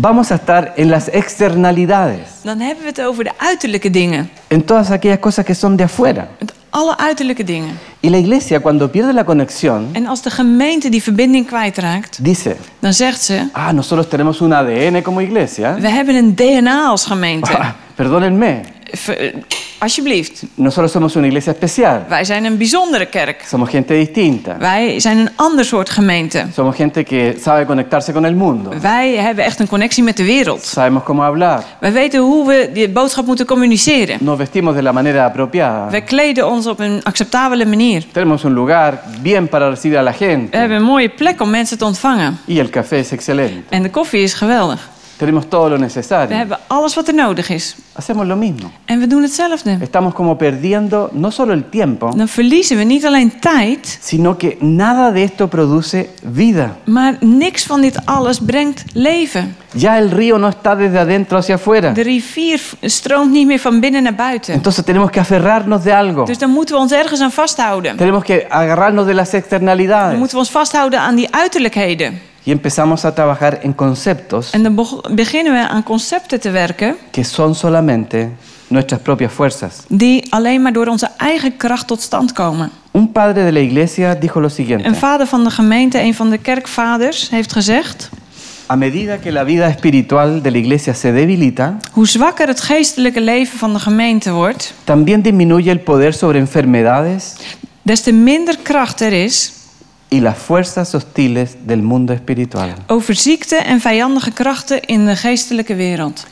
Speaker 1: Vamos a estar en las externalidades,
Speaker 2: dan hebben we het over de uiterlijke dingen.
Speaker 1: en todas aquellas cosas que son de afuera.
Speaker 2: Met alle uiterlijke dingen.
Speaker 1: Y la iglesia cuando pierde la conexión
Speaker 2: En als de gemeente die verbinding kwijtraakt,
Speaker 1: dice,
Speaker 2: dan zegt ze:
Speaker 1: ah, nosotros tenemos un ADN como iglesia.
Speaker 2: We hebben een DNA als gemeente.
Speaker 1: Ah, Perdónenme,
Speaker 2: Ver- Alsjeblieft,
Speaker 1: nosotros somos una iglesia especial,
Speaker 2: wij zijn een bijzondere kerk.
Speaker 1: somos gente distinta,
Speaker 2: Wij zijn een ander soort gemeente.
Speaker 1: somos gente que sabe conectarse con el mundo,
Speaker 2: Wij hebben echt een connectie met de wereld.
Speaker 1: sabemos cómo hablar,
Speaker 2: Wij weten hoe we die boodschap moeten communiceren.
Speaker 1: nos vestimos de la manera apropiada,
Speaker 2: Ah. Wij kleden ons op een acceptabele manier.
Speaker 1: tenemos un lugar bien para recibir a la
Speaker 2: We
Speaker 1: gente
Speaker 2: hebben een mooie plek om mensen te ontvangen.
Speaker 1: y el café es excelente,
Speaker 2: En de koffie is geweldig.
Speaker 1: tenemos todo lo
Speaker 2: We
Speaker 1: necesario,
Speaker 2: hebben alles wat er nodig is.
Speaker 1: hacemos lo mismo.
Speaker 2: En we doen hetzelfde.
Speaker 1: Estamos como perdiendo no solo el tiempo,
Speaker 2: Dan verliezen we niet alleen tijd,
Speaker 1: sino que nada de esto produce vida.
Speaker 2: maar niks van dit alles brengt leven.
Speaker 1: Ya el río no está desde adentro hacia afuera.
Speaker 2: De rivier v- stroomt niet meer van binnen naar buiten.
Speaker 1: Entonces tenemos que aferrarnos de algo.
Speaker 2: Dus dan moeten we ons ergens aan vasthouden.
Speaker 1: Tenemos que agarrarnos de las
Speaker 2: Dan
Speaker 1: externalidades.
Speaker 2: moeten we ons vasthouden aan die uiterlijkheden.
Speaker 1: Y empezamos a trabajar en conceptos
Speaker 2: En dan beg- beginnen we aan concepten te werken
Speaker 1: que son solamente nuestras propias fuerzas.
Speaker 2: die alleen maar door onze eigen kracht tot stand komen.
Speaker 1: Un padre de la iglesia dijo lo siguiente.
Speaker 2: Een vader van de gemeente, een van de kerkvaders, heeft gezegd:
Speaker 1: A medida que la vida espiritual de la iglesia se debilita,
Speaker 2: Hoe zwakker het geestelijke leven van de gemeente wordt,
Speaker 1: también disminuye el poder sobre enfermedades
Speaker 2: des te minder kracht er is
Speaker 1: y las fuerzas hostiles del mundo espiritual.
Speaker 2: over ziekte en vijandige krachten in de geestelijke wereld.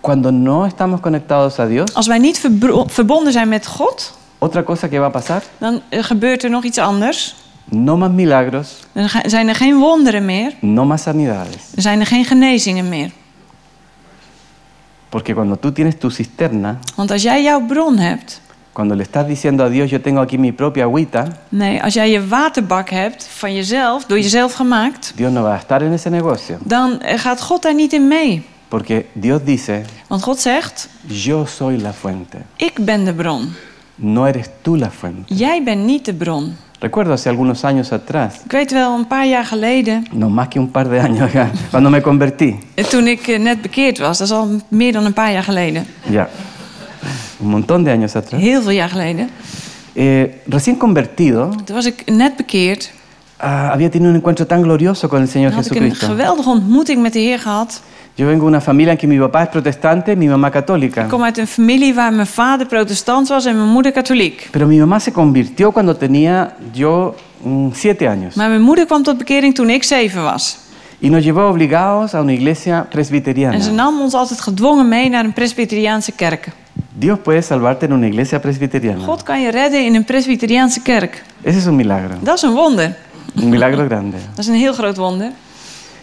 Speaker 1: Cuando no estamos conectados a Dios,
Speaker 2: Als wij niet verbro- verbonden zijn met God,
Speaker 1: otra cosa que va a pasar,
Speaker 2: dan eh, gebeurt er nog iets anders.
Speaker 1: no más milagros,
Speaker 2: Dan ga- zijn er geen wonderen meer,
Speaker 1: no más sanidades.
Speaker 2: dan zijn er geen genezingen meer.
Speaker 1: Porque cuando tú tienes tu cisterna,
Speaker 2: Want als jij jouw bron hebt,
Speaker 1: cuando le estás diciendo a Dios, yo tengo aquí mi propia agüita,
Speaker 2: nee, als jij je waterbak hebt van jezelf, door jezelf gemaakt,
Speaker 1: Dios no va a estar en ese negocio.
Speaker 2: dan eh, gaat God daar niet in mee.
Speaker 1: Porque Dios dice,
Speaker 2: Want God zegt:
Speaker 1: yo soy la fuente,
Speaker 2: Ik ben de bron.
Speaker 1: no eres tú la fuente.
Speaker 2: Jij bent niet de bron.
Speaker 1: Recuerdo hace algunos años atrás,
Speaker 2: Ik weet wel, een paar jaar geleden,
Speaker 1: no más que un par de años, ya, cuando me convertí,
Speaker 2: eh, toen ik eh, net bekeerd was, dat is al meer dan een paar jaar geleden,
Speaker 1: ya, un montón de años atrás,
Speaker 2: heel veel jaar geleden,
Speaker 1: eh, recién convertido,
Speaker 2: toen was ik net bekeerd.
Speaker 1: ah, había tenido un encuentro tan glorioso con el Señor
Speaker 2: Dan had ik een
Speaker 1: Jesucristo.
Speaker 2: geweldige ontmoeting met de Heer gehad.
Speaker 1: Yo vengo de una familia en que mi papá es protestante, mi mamá católica.
Speaker 2: Ik kom uit een familie waar mijn vader protestant was en mijn moeder katholiek.
Speaker 1: Pero mi mamá se convirtió cuando tenía yo mm, siete años.
Speaker 2: Maar mijn moeder kwam tot bekering toen ik zeven was.
Speaker 1: Y y nos llevó obligados a una iglesia presbiteriana.
Speaker 2: En ze nam ons altijd gedwongen mee naar een Presbyteriaanse kerk.
Speaker 1: Dios puede salvarte en una iglesia presbiteriana.
Speaker 2: God kan je redden in een Presbyteriaanse kerk.
Speaker 1: Ese es un milagro,
Speaker 2: Dat is een wonder.
Speaker 1: un milagro grande.
Speaker 2: Dat is een heel groot wonder.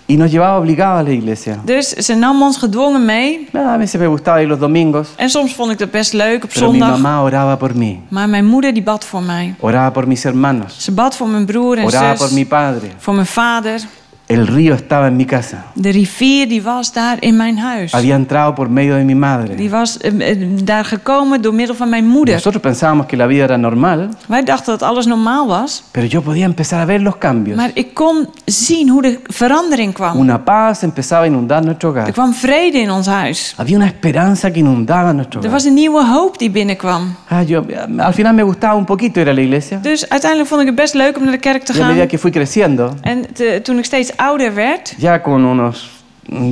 Speaker 1: Y nos llevaba obligados a la iglesia.
Speaker 2: Dus ze nam ons gedwongen mee.
Speaker 1: Nada, a veces me gustaba ir los domingos,
Speaker 2: En soms vond ik dat best leuk op
Speaker 1: pero mi
Speaker 2: zondag.
Speaker 1: mamá oraba por mí,
Speaker 2: Maar mijn moeder die bad voor mij.
Speaker 1: oraba por mis hermanos,
Speaker 2: Ze bad voor mijn broer en
Speaker 1: oraba por mi
Speaker 2: zus.
Speaker 1: padre.
Speaker 2: Voor mijn vader.
Speaker 1: El río estaba en mi casa,
Speaker 2: De rivier die was daar in mijn huis.
Speaker 1: había entrado por medio de mi
Speaker 2: Die
Speaker 1: madre.
Speaker 2: was eh, eh, daar gekomen door middel van mijn moeder.
Speaker 1: Nosotros pensábamos que la vida era normal,
Speaker 2: Wij dachten dat alles normaal was.
Speaker 1: pero yo podía empezar a ver los cambios.
Speaker 2: Maar ik kon zien hoe de verandering kwam.
Speaker 1: Una paz empezaba a inundar nuestro
Speaker 2: Er
Speaker 1: hogar.
Speaker 2: kwam vrede in ons huis.
Speaker 1: Había una esperanza que inundaba nuestro
Speaker 2: Er
Speaker 1: hogar.
Speaker 2: was een nieuwe hoop die binnenkwam.
Speaker 1: Ah, yo, al final me gustaba un poquito ir a la iglesia.
Speaker 2: Dus uiteindelijk vond ik het best leuk om naar de kerk te
Speaker 1: Y a medida
Speaker 2: gaan.
Speaker 1: que fui creciendo,
Speaker 2: En te- toen ik steeds ouder werd,
Speaker 1: ya con unos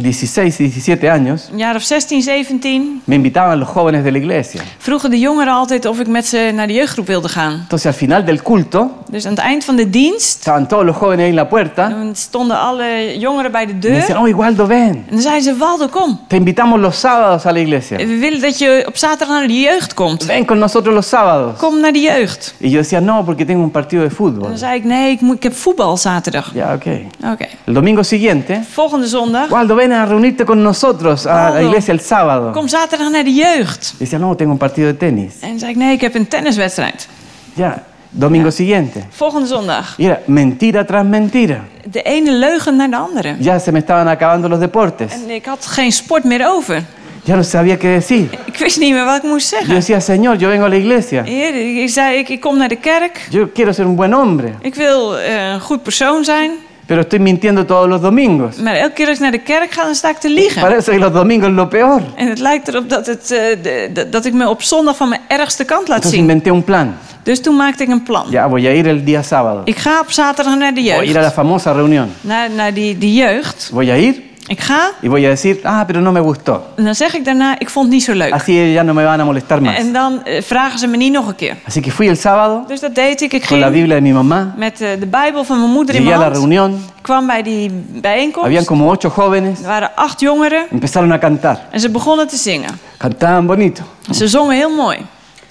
Speaker 1: 16, 17 años,
Speaker 2: een jaar of 16, 17,
Speaker 1: me invitaban los jóvenes de la iglesia.
Speaker 2: vroegen de jongeren altijd of ik met ze naar de jeugdgroep wilde gaan.
Speaker 1: Entonces al final del culto,
Speaker 2: Dus aan het eind van de dienst
Speaker 1: estaban todos los jóvenes ahí en la puerta.
Speaker 2: dan stonden alle jongeren bij de
Speaker 1: Y me
Speaker 2: deur.
Speaker 1: decían, oh, Igualdo, ven.
Speaker 2: En dan zeiden ze, Waldo, kom.
Speaker 1: Te invitamos los sábados a la iglesia.
Speaker 2: We willen dat je op zaterdag naar de jeugd komt.
Speaker 1: Ven con nosotros los sábados.
Speaker 2: Kom naar de jeugd.
Speaker 1: Y yo decía, no, porque tengo un partido de
Speaker 2: En
Speaker 1: fútbol.
Speaker 2: dan zei ik, nee, ik, moet, ik heb voetbal zaterdag.
Speaker 1: Ya, ok.
Speaker 2: Oké.
Speaker 1: El domingo siguiente,
Speaker 2: Volgende zondag,
Speaker 1: Waldo, ven a reunirte con nosotros a la
Speaker 2: Waldo.
Speaker 1: iglesia el sábado.
Speaker 2: kom zaterdag naar de jeugd.
Speaker 1: Decía, no, tengo un partido de tenis.
Speaker 2: En dan zei ik, nee, ik heb een tenniswedstrijd.
Speaker 1: Ya, domingo siguiente.
Speaker 2: Volgende zondag.
Speaker 1: Y era mentira tras mentira.
Speaker 2: De ene leugen naar de andere.
Speaker 1: Ya se me estaban acabando los deportes.
Speaker 2: En ik had geen sport meer over.
Speaker 1: Ya no sabía qué decir.
Speaker 2: Ik wist niet meer wat ik moest
Speaker 1: Yo
Speaker 2: zeggen.
Speaker 1: decía, Señor, yo vengo a la iglesia.
Speaker 2: Heer, ik zei, ik, ik kom naar de kerk.
Speaker 1: Yo quiero ser un buen hombre,
Speaker 2: Ik wil eh, een goed persoon zijn.
Speaker 1: pero estoy mintiendo todos los domingos.
Speaker 2: Maar elke keer als ik naar de kerk ga, dan sta ik te liegen.
Speaker 1: Parece que los domingos es lo peor.
Speaker 2: En het lijkt erop dat, het, eh, de- de- dat ik me op zondag van mijn ergste kant laat
Speaker 1: Entonces
Speaker 2: zien.
Speaker 1: inventé un plan.
Speaker 2: Dus toen maakte ik een plan.
Speaker 1: Ya voy a ir el día sábado.
Speaker 2: Ik ga op zaterdag naar de
Speaker 1: Voy a ir a la
Speaker 2: jeugd.
Speaker 1: famosa reunión.
Speaker 2: Naar, naar die, die jeugd.
Speaker 1: Voy a ir
Speaker 2: Ik ga
Speaker 1: y voy a decir, ah, pero no me gustó.
Speaker 2: en dan zeg ik daarna, ik vond het niet zo leuk.
Speaker 1: Así ellos ya no me van a molestar más.
Speaker 2: En dan eh, vragen ze me niet nog een keer.
Speaker 1: Así que fui el sábado
Speaker 2: Dus dat deed ik. Ik
Speaker 1: con la
Speaker 2: ging
Speaker 1: Biblia de mi mamá.
Speaker 2: met eh, de Bijbel van mijn moeder in
Speaker 1: Llegué a
Speaker 2: mijn
Speaker 1: la
Speaker 2: hand.
Speaker 1: reunión.
Speaker 2: Ik kwam bij die
Speaker 1: Habían
Speaker 2: bijeenkomst.
Speaker 1: como ocho
Speaker 2: Er
Speaker 1: jóvenes.
Speaker 2: waren acht jongeren
Speaker 1: Empezaron a cantar.
Speaker 2: en ze begonnen te zingen.
Speaker 1: Cantaban bonito.
Speaker 2: Ze zongen heel mooi.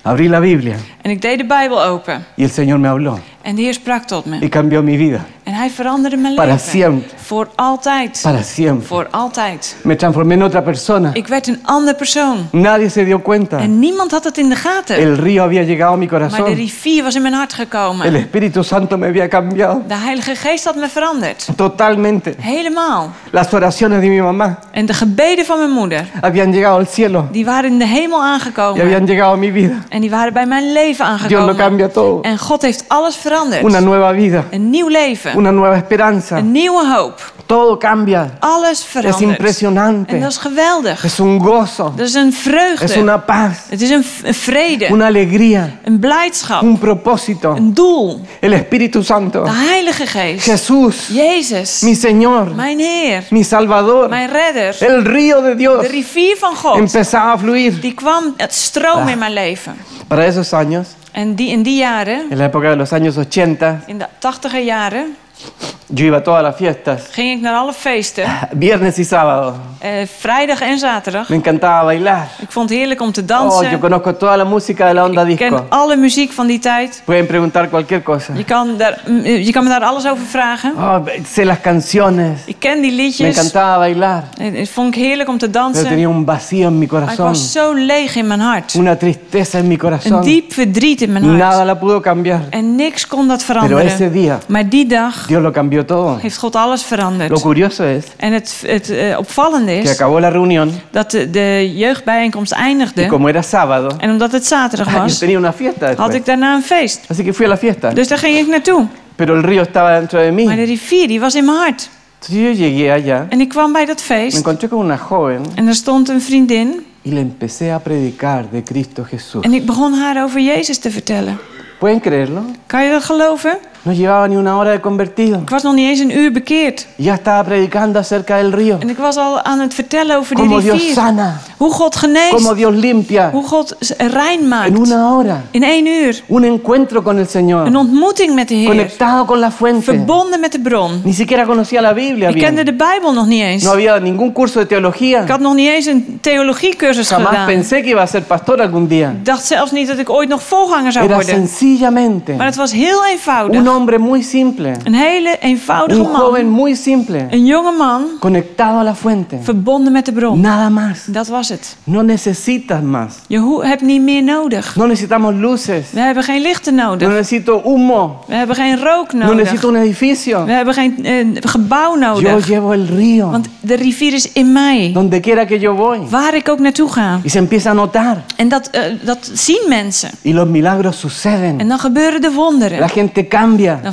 Speaker 1: Abrí la Biblia
Speaker 2: En ik deed de Bijbel open.
Speaker 1: y el Señor me habló
Speaker 2: En de Heer sprak tot me.
Speaker 1: y cambió mi vida
Speaker 2: En hij veranderde mijn
Speaker 1: Para
Speaker 2: leven.
Speaker 1: siempre.
Speaker 2: Voor altijd.
Speaker 1: para siempre.
Speaker 2: Voor altijd.
Speaker 1: Me transformé en otra persona.
Speaker 2: Ik werd een ander persoon.
Speaker 1: Nadie se dio cuenta.
Speaker 2: En niemand had het in de gaten.
Speaker 1: El río había llegado a mi
Speaker 2: Maar de
Speaker 1: corazón.
Speaker 2: rivier was in mijn hart
Speaker 1: El
Speaker 2: gekomen.
Speaker 1: Espíritu Santo me había cambiado
Speaker 2: De Heilige Geest had me veranderd.
Speaker 1: totalmente.
Speaker 2: Helemaal.
Speaker 1: Las oraciones de mi mamá
Speaker 2: En de gebeden van mijn moeder,
Speaker 1: habían llegado al cielo
Speaker 2: die waren in de hemel
Speaker 1: y
Speaker 2: aangekomen.
Speaker 1: habían llegado a mi vida.
Speaker 2: En die waren bij mijn leven
Speaker 1: Dios lo
Speaker 2: aangekomen.
Speaker 1: cambia todo.
Speaker 2: En God heeft alles veranderd.
Speaker 1: Una nueva vida,
Speaker 2: Een nieuw leven.
Speaker 1: una nueva esperanza.
Speaker 2: Een nieuwe hoop.
Speaker 1: Todo cambia.
Speaker 2: Alles
Speaker 1: Es
Speaker 2: verandert. En
Speaker 1: impresionante.
Speaker 2: dat is geweldig.
Speaker 1: Es un gozo.
Speaker 2: Dat is een
Speaker 1: Es
Speaker 2: vreugde.
Speaker 1: una paz,
Speaker 2: Het is een, v- een vrede.
Speaker 1: una alegría,
Speaker 2: Een blijdschap.
Speaker 1: un propósito.
Speaker 2: Een doel.
Speaker 1: El Espíritu Santo,
Speaker 2: De Heilige Geest.
Speaker 1: Jesús, mi
Speaker 2: Jezus.
Speaker 1: Señor,
Speaker 2: Mijn Heer.
Speaker 1: mi Salvador,
Speaker 2: Mijn Redder.
Speaker 1: el río de Dios
Speaker 2: De rivier van God.
Speaker 1: empezaba a fluir.
Speaker 2: Die kwam het stroom in mijn leven.
Speaker 1: Para esos años,
Speaker 2: En die, in die jaren,
Speaker 1: en la época de los años 80,
Speaker 2: in de tachtiger jaren,
Speaker 1: yo iba a todas las fiestas,
Speaker 2: ging ik naar alle feesten.
Speaker 1: viernes y sábado.
Speaker 2: Eh, vrijdag en zaterdag.
Speaker 1: Me encantaba bailar.
Speaker 2: Ik vond het heerlijk om te
Speaker 1: Oh,
Speaker 2: dansen.
Speaker 1: yo conozco toda la música de la onda
Speaker 2: ik
Speaker 1: disco.
Speaker 2: ken alle muziek van die tijd.
Speaker 1: Pueden preguntar cualquier cosa.
Speaker 2: Je kan, daar, mm, eh, je kan me daar alles over vragen.
Speaker 1: Oh, sé las canciones.
Speaker 2: Ik ken die
Speaker 1: Me
Speaker 2: liedjes.
Speaker 1: encantaba bailar.
Speaker 2: Het het vond ik heerlijk om te
Speaker 1: Pero
Speaker 2: dansen.
Speaker 1: tenía un vacío en mi
Speaker 2: Maar ik
Speaker 1: corazón,
Speaker 2: was zo leeg in mijn hart.
Speaker 1: una tristeza en mi
Speaker 2: Een
Speaker 1: corazón.
Speaker 2: diep verdriet in mijn
Speaker 1: Nada
Speaker 2: hart.
Speaker 1: la pudo cambiar.
Speaker 2: En niks kon dat
Speaker 1: Pero ese
Speaker 2: veranderen.
Speaker 1: día
Speaker 2: Maar die dag
Speaker 1: Dios lo cambió todo.
Speaker 2: heeft God alles
Speaker 1: Lo
Speaker 2: veranderd.
Speaker 1: curioso es
Speaker 2: En het, het eh, opvallende
Speaker 1: que
Speaker 2: is
Speaker 1: acabó la reunión
Speaker 2: dat de, de jeugdbijeenkomst
Speaker 1: y
Speaker 2: eindigde.
Speaker 1: como era sábado,
Speaker 2: En omdat het zaterdag
Speaker 1: yo
Speaker 2: was,
Speaker 1: tenía una fiesta
Speaker 2: had
Speaker 1: después.
Speaker 2: ik daarna een feest.
Speaker 1: Así que fui a la fiesta,
Speaker 2: Dus daar ging ik naartoe.
Speaker 1: pero el río estaba dentro de mí.
Speaker 2: Maar de rivier die was in mijn hart.
Speaker 1: Entonces yo llegué allá,
Speaker 2: En ik kwam bij dat
Speaker 1: me
Speaker 2: feest
Speaker 1: encontré con una joven
Speaker 2: en er stond een vriendin
Speaker 1: y le empecé a predicar de Cristo Jesús.
Speaker 2: en ik begon haar over Jezus te vertellen.
Speaker 1: ¿Pueden creerlo?
Speaker 2: Kan je dat geloven?
Speaker 1: No llevaba ni una hora de convertido.
Speaker 2: Ik was nog niet eens een uur bekeerd.
Speaker 1: Ya estaba predicando acerca del río.
Speaker 2: En ik was al aan het vertellen over die
Speaker 1: Cómo Dios
Speaker 2: rivier.
Speaker 1: sana,
Speaker 2: Hoe God
Speaker 1: cómo
Speaker 2: geneest.
Speaker 1: Dios limpia.
Speaker 2: Hoe God z- rein
Speaker 1: En
Speaker 2: maakt.
Speaker 1: una hora,
Speaker 2: In één uur.
Speaker 1: un encuentro con el Señor,
Speaker 2: Een ontmoeting met de Heer.
Speaker 1: conectado con la fuente.
Speaker 2: Verbonden met de bron.
Speaker 1: Ni siquiera conocía la Biblia
Speaker 2: Ik kende
Speaker 1: bien.
Speaker 2: de Bijbel nog niet eens.
Speaker 1: No había ningún curso de
Speaker 2: Ik
Speaker 1: teología.
Speaker 2: had nog niet eens een theologiecursus
Speaker 1: Jamás
Speaker 2: gedaan.
Speaker 1: pensé que iba a ser pastor algún día.
Speaker 2: Ik dacht zelfs niet dat ik ooit nog volganger zou
Speaker 1: Era
Speaker 2: worden.
Speaker 1: sencillamente
Speaker 2: Maar het was heel
Speaker 1: un
Speaker 2: eenvoudig.
Speaker 1: hombre muy simple,
Speaker 2: Een hele eenvoudige
Speaker 1: un
Speaker 2: man.
Speaker 1: joven muy simple,
Speaker 2: Een jonge man
Speaker 1: conectado a la fuente.
Speaker 2: verbonden met de bron.
Speaker 1: Nada más.
Speaker 2: Dat was het.
Speaker 1: No necesitas más.
Speaker 2: Je hoe- hebt niet meer nodig.
Speaker 1: No necesitamos luces.
Speaker 2: We hebben geen lichten
Speaker 1: No
Speaker 2: nodig.
Speaker 1: necesito humo.
Speaker 2: We hebben geen rook
Speaker 1: No
Speaker 2: nodig.
Speaker 1: necesito un edificio.
Speaker 2: We hebben geen eh, gebouw
Speaker 1: Yo
Speaker 2: nodig.
Speaker 1: llevo el río
Speaker 2: Want de rivier is in mij.
Speaker 1: donde quiera que yo voy.
Speaker 2: Waar ik ook naartoe ga.
Speaker 1: Y se empieza a notar.
Speaker 2: En dat, eh, dat zien mensen.
Speaker 1: Y los milagros
Speaker 2: Mm. En
Speaker 1: suceden.
Speaker 2: dan gebeuren de
Speaker 1: La
Speaker 2: wonderen.
Speaker 1: gente cambia.
Speaker 2: Dan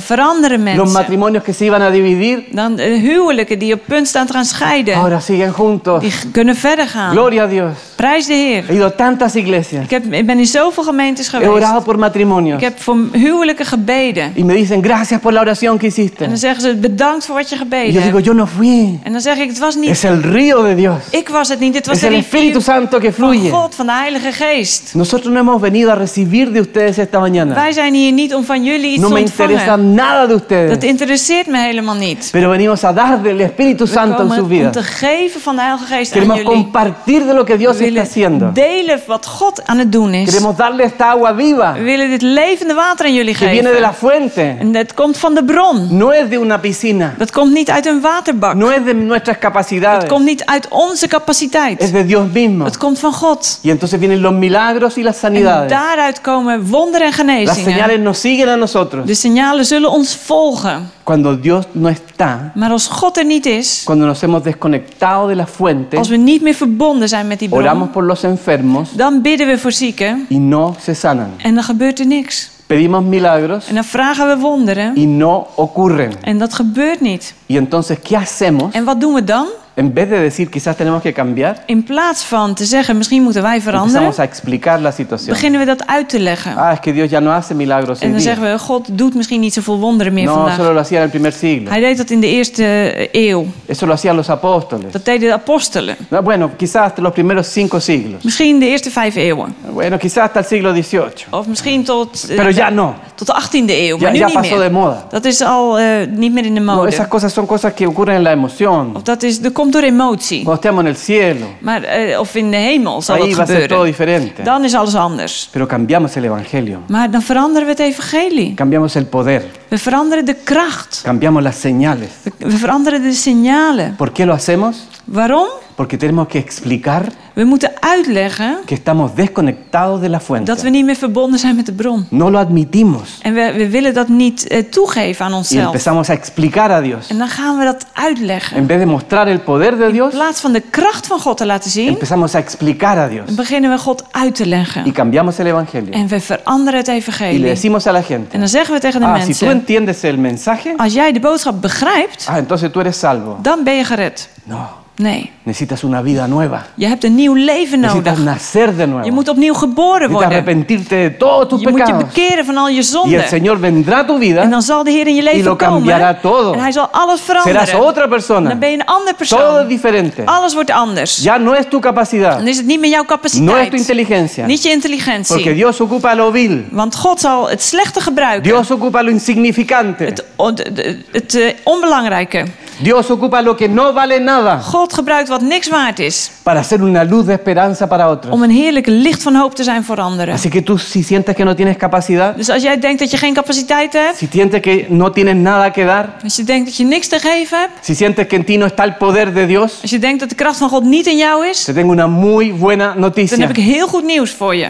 Speaker 1: Los
Speaker 2: veranderen mensen.
Speaker 1: matrimonios que se iban a dividir
Speaker 2: Dan de huwelijken die op punt staan te gaan scheiden.
Speaker 1: ahora siguen juntos.
Speaker 2: Die g- kunnen verder gaan.
Speaker 1: Gloria a Dios.
Speaker 2: Prijs de Heer.
Speaker 1: He ido a tantas iglesias.
Speaker 2: Ik, heb, ik ben in zoveel gemeentes
Speaker 1: He
Speaker 2: geweest.
Speaker 1: orado por matrimonios.
Speaker 2: Ik heb voor huwelijken gebeden.
Speaker 1: Y me dicen, gracias por la oración que
Speaker 2: En
Speaker 1: hiciste.
Speaker 2: dan zeggen ze bedankt voor wat je
Speaker 1: Y
Speaker 2: gebeden
Speaker 1: yo digo,
Speaker 2: hebt.
Speaker 1: yo no fui.
Speaker 2: En dan zeg ik het was niet.
Speaker 1: Es el río de Dios.
Speaker 2: Ik was het niet. Dit was
Speaker 1: Es
Speaker 2: de
Speaker 1: el Espíritu
Speaker 2: rivier
Speaker 1: Santo que
Speaker 2: van
Speaker 1: fluye.
Speaker 2: God, van de Heilige Geest.
Speaker 1: Nosotros no hemos venido a recibir de ustedes esta mañana.
Speaker 2: Wij zijn hier niet om van jullie iets
Speaker 1: No
Speaker 2: te
Speaker 1: me interesa
Speaker 2: ontvangen.
Speaker 1: nada de
Speaker 2: Dat
Speaker 1: ustedes.
Speaker 2: interesseert me helemaal niet.
Speaker 1: Pero venimos a dar del Espíritu
Speaker 2: We
Speaker 1: Santo en
Speaker 2: komen
Speaker 1: sus
Speaker 2: om
Speaker 1: vidas.
Speaker 2: te geven van de Heilige Geest aan
Speaker 1: Queremos
Speaker 2: jullie.
Speaker 1: compartir de lo que
Speaker 2: We
Speaker 1: Dios está haciendo.
Speaker 2: willen delen wat God aan het doen is.
Speaker 1: Queremos darle esta agua viva
Speaker 2: We willen dit levende water aan jullie
Speaker 1: que viene de
Speaker 2: geven.
Speaker 1: la fuente.
Speaker 2: En dat komt van de bron.
Speaker 1: No es de una piscina.
Speaker 2: Dat komt niet uit een waterbak.
Speaker 1: No es de nuestras
Speaker 2: Dat
Speaker 1: capacidades.
Speaker 2: komt niet uit onze
Speaker 1: Es
Speaker 2: capaciteit.
Speaker 1: de Dios mismo.
Speaker 2: Dat komt van God.
Speaker 1: Y entonces vienen los milagros y las
Speaker 2: En
Speaker 1: sanidades.
Speaker 2: daaruit komen wonderen en
Speaker 1: Las
Speaker 2: genezingen.
Speaker 1: señales nos siguen a nosotros.
Speaker 2: De signalen zullen ons volgen.
Speaker 1: Cuando Dios no está,
Speaker 2: Maar als God er niet is,
Speaker 1: cuando nos hemos desconectado de la fuente,
Speaker 2: als we niet meer verbonden zijn met die
Speaker 1: oramos
Speaker 2: bron,
Speaker 1: por los enfermos
Speaker 2: dan bidden we voor zieken
Speaker 1: y no se sanan.
Speaker 2: en dan gebeurt er niks.
Speaker 1: Pedimos milagros
Speaker 2: En dan vragen we wonderen
Speaker 1: y no ocurren.
Speaker 2: en dat gebeurt niet.
Speaker 1: Y entonces, ¿qué hacemos?
Speaker 2: En wat doen we dan?
Speaker 1: En vez de decir quizás tenemos que cambiar,
Speaker 2: In plaats van te zeggen misschien moeten wij veranderen,
Speaker 1: empezamos a explicar la situación.
Speaker 2: beginnen we dat uit te leggen.
Speaker 1: Ah, es que Dios ya no hace milagros
Speaker 2: En
Speaker 1: hoy
Speaker 2: dan
Speaker 1: día.
Speaker 2: zeggen we, God doet misschien niet zoveel wonderen meer
Speaker 1: No,
Speaker 2: vandaag.
Speaker 1: solo lo hacía en el primer siglo.
Speaker 2: Hij deed dat in de eerste eh, eeuw.
Speaker 1: Eso lo hacían los apóstoles.
Speaker 2: Dat deden de apostelen.
Speaker 1: No, Bueno, quizás hasta los primeros cinco siglos.
Speaker 2: Misschien de eerste vijf eeuwen.
Speaker 1: Bueno, quizás hasta el siglo XVIII.
Speaker 2: Of misschien tot, eh,
Speaker 1: Pero ya no.
Speaker 2: tot de 18e eeuw. Maar
Speaker 1: Ya,
Speaker 2: nu
Speaker 1: ya
Speaker 2: niet
Speaker 1: pasó
Speaker 2: meer.
Speaker 1: de moda.
Speaker 2: Dat is al eh, niet meer in de
Speaker 1: No,
Speaker 2: mode.
Speaker 1: esas cosas son cosas que ocurren en la emoción.
Speaker 2: Of dat, is, dat komt door emotie.
Speaker 1: Cuando estemos en el cielo,
Speaker 2: Maar, eh, of in de hemel zal
Speaker 1: ahí va
Speaker 2: dat
Speaker 1: a ser todo
Speaker 2: gebeuren.
Speaker 1: diferente.
Speaker 2: Dan is alles anders.
Speaker 1: Pero cambiamos el evangelio,
Speaker 2: Maar dan veranderen we het evangelie.
Speaker 1: cambiamos el poder,
Speaker 2: We veranderen de kracht.
Speaker 1: cambiamos las señales.
Speaker 2: We- We veranderen de signalen.
Speaker 1: ¿Por qué lo hacemos?
Speaker 2: Waarom?
Speaker 1: Porque tenemos que explicar
Speaker 2: We moeten uitleggen
Speaker 1: que estamos desconectados de la
Speaker 2: dat we
Speaker 1: fuente.
Speaker 2: niet meer verbonden zijn met de bron.
Speaker 1: No lo admitimos
Speaker 2: En we, we willen dat niet eh, toegeven aan
Speaker 1: y
Speaker 2: onszelf.
Speaker 1: empezamos a explicar a Dios.
Speaker 2: En dan gaan we dat uitleggen.
Speaker 1: En vez de mostrar el poder de
Speaker 2: In
Speaker 1: Dios,
Speaker 2: plaats van de kracht van God te laten zien,
Speaker 1: empezamos a explicar a Dios
Speaker 2: beginnen we God uit te
Speaker 1: y
Speaker 2: leggen.
Speaker 1: cambiamos el evangelio.
Speaker 2: En we veranderen het
Speaker 1: Y le
Speaker 2: evangelie.
Speaker 1: decimos a la
Speaker 2: En
Speaker 1: gente,
Speaker 2: dan zeggen we tegen de
Speaker 1: ah, si tú
Speaker 2: mensen,
Speaker 1: entiendes el mensaje,
Speaker 2: als jij de boodschap begrijpt,
Speaker 1: ah, entonces tú eres salvo.
Speaker 2: dan ben je gered.
Speaker 1: No,
Speaker 2: Nee,
Speaker 1: necesitas una vida nueva.
Speaker 2: je hebt een nieuw leven
Speaker 1: Necesitas
Speaker 2: nodig.
Speaker 1: nacer de
Speaker 2: Je
Speaker 1: nuevo.
Speaker 2: moet opnieuw geboren
Speaker 1: Necesitas
Speaker 2: worden.
Speaker 1: arrepentirte de todos tus
Speaker 2: Je moet je
Speaker 1: pecados.
Speaker 2: bekeren van al je
Speaker 1: Y el
Speaker 2: zonden.
Speaker 1: Señor vendrá a tu
Speaker 2: En
Speaker 1: vida,
Speaker 2: dan zal de Heer in je
Speaker 1: lo
Speaker 2: leven komen.
Speaker 1: cambiará todo.
Speaker 2: En hij zal alles
Speaker 1: serás
Speaker 2: veranderen.
Speaker 1: otra
Speaker 2: En dan ben
Speaker 1: persona.
Speaker 2: je een ander
Speaker 1: Todo es
Speaker 2: persoon.
Speaker 1: diferente.
Speaker 2: Alles wordt anders.
Speaker 1: Ya no es tu capacidad,
Speaker 2: Dan is het niet meer jouw
Speaker 1: no es tu
Speaker 2: capaciteit.
Speaker 1: inteligencia,
Speaker 2: Niet je
Speaker 1: porque
Speaker 2: intelligentie.
Speaker 1: Dios ocupa lo vil,
Speaker 2: Want God zal het slechte gebruiken.
Speaker 1: Dios ocupa lo insignificante,
Speaker 2: Het, on- de- de- het eh, onbelangrijke.
Speaker 1: Dios ocupa lo que no vale nada
Speaker 2: God gebruikt wat niks waard is.
Speaker 1: para ser una luz de esperanza para otros.
Speaker 2: Om een heerlijk licht van hoop te zijn voor anderen.
Speaker 1: Así que tú si sientes que no tienes capacidad,
Speaker 2: Dus als jij denkt dat je geen capaciteit hebt.
Speaker 1: si sientes que no tienes nada que dar,
Speaker 2: Als je denkt dat je niks te geven hebt.
Speaker 1: si sientes que en ti no está el poder de Dios,
Speaker 2: Als je denkt dat de kracht van God niet in jou is.
Speaker 1: te tengo una muy buena
Speaker 2: Dan
Speaker 1: noticia.
Speaker 2: heb ik heel goed nieuws voor je.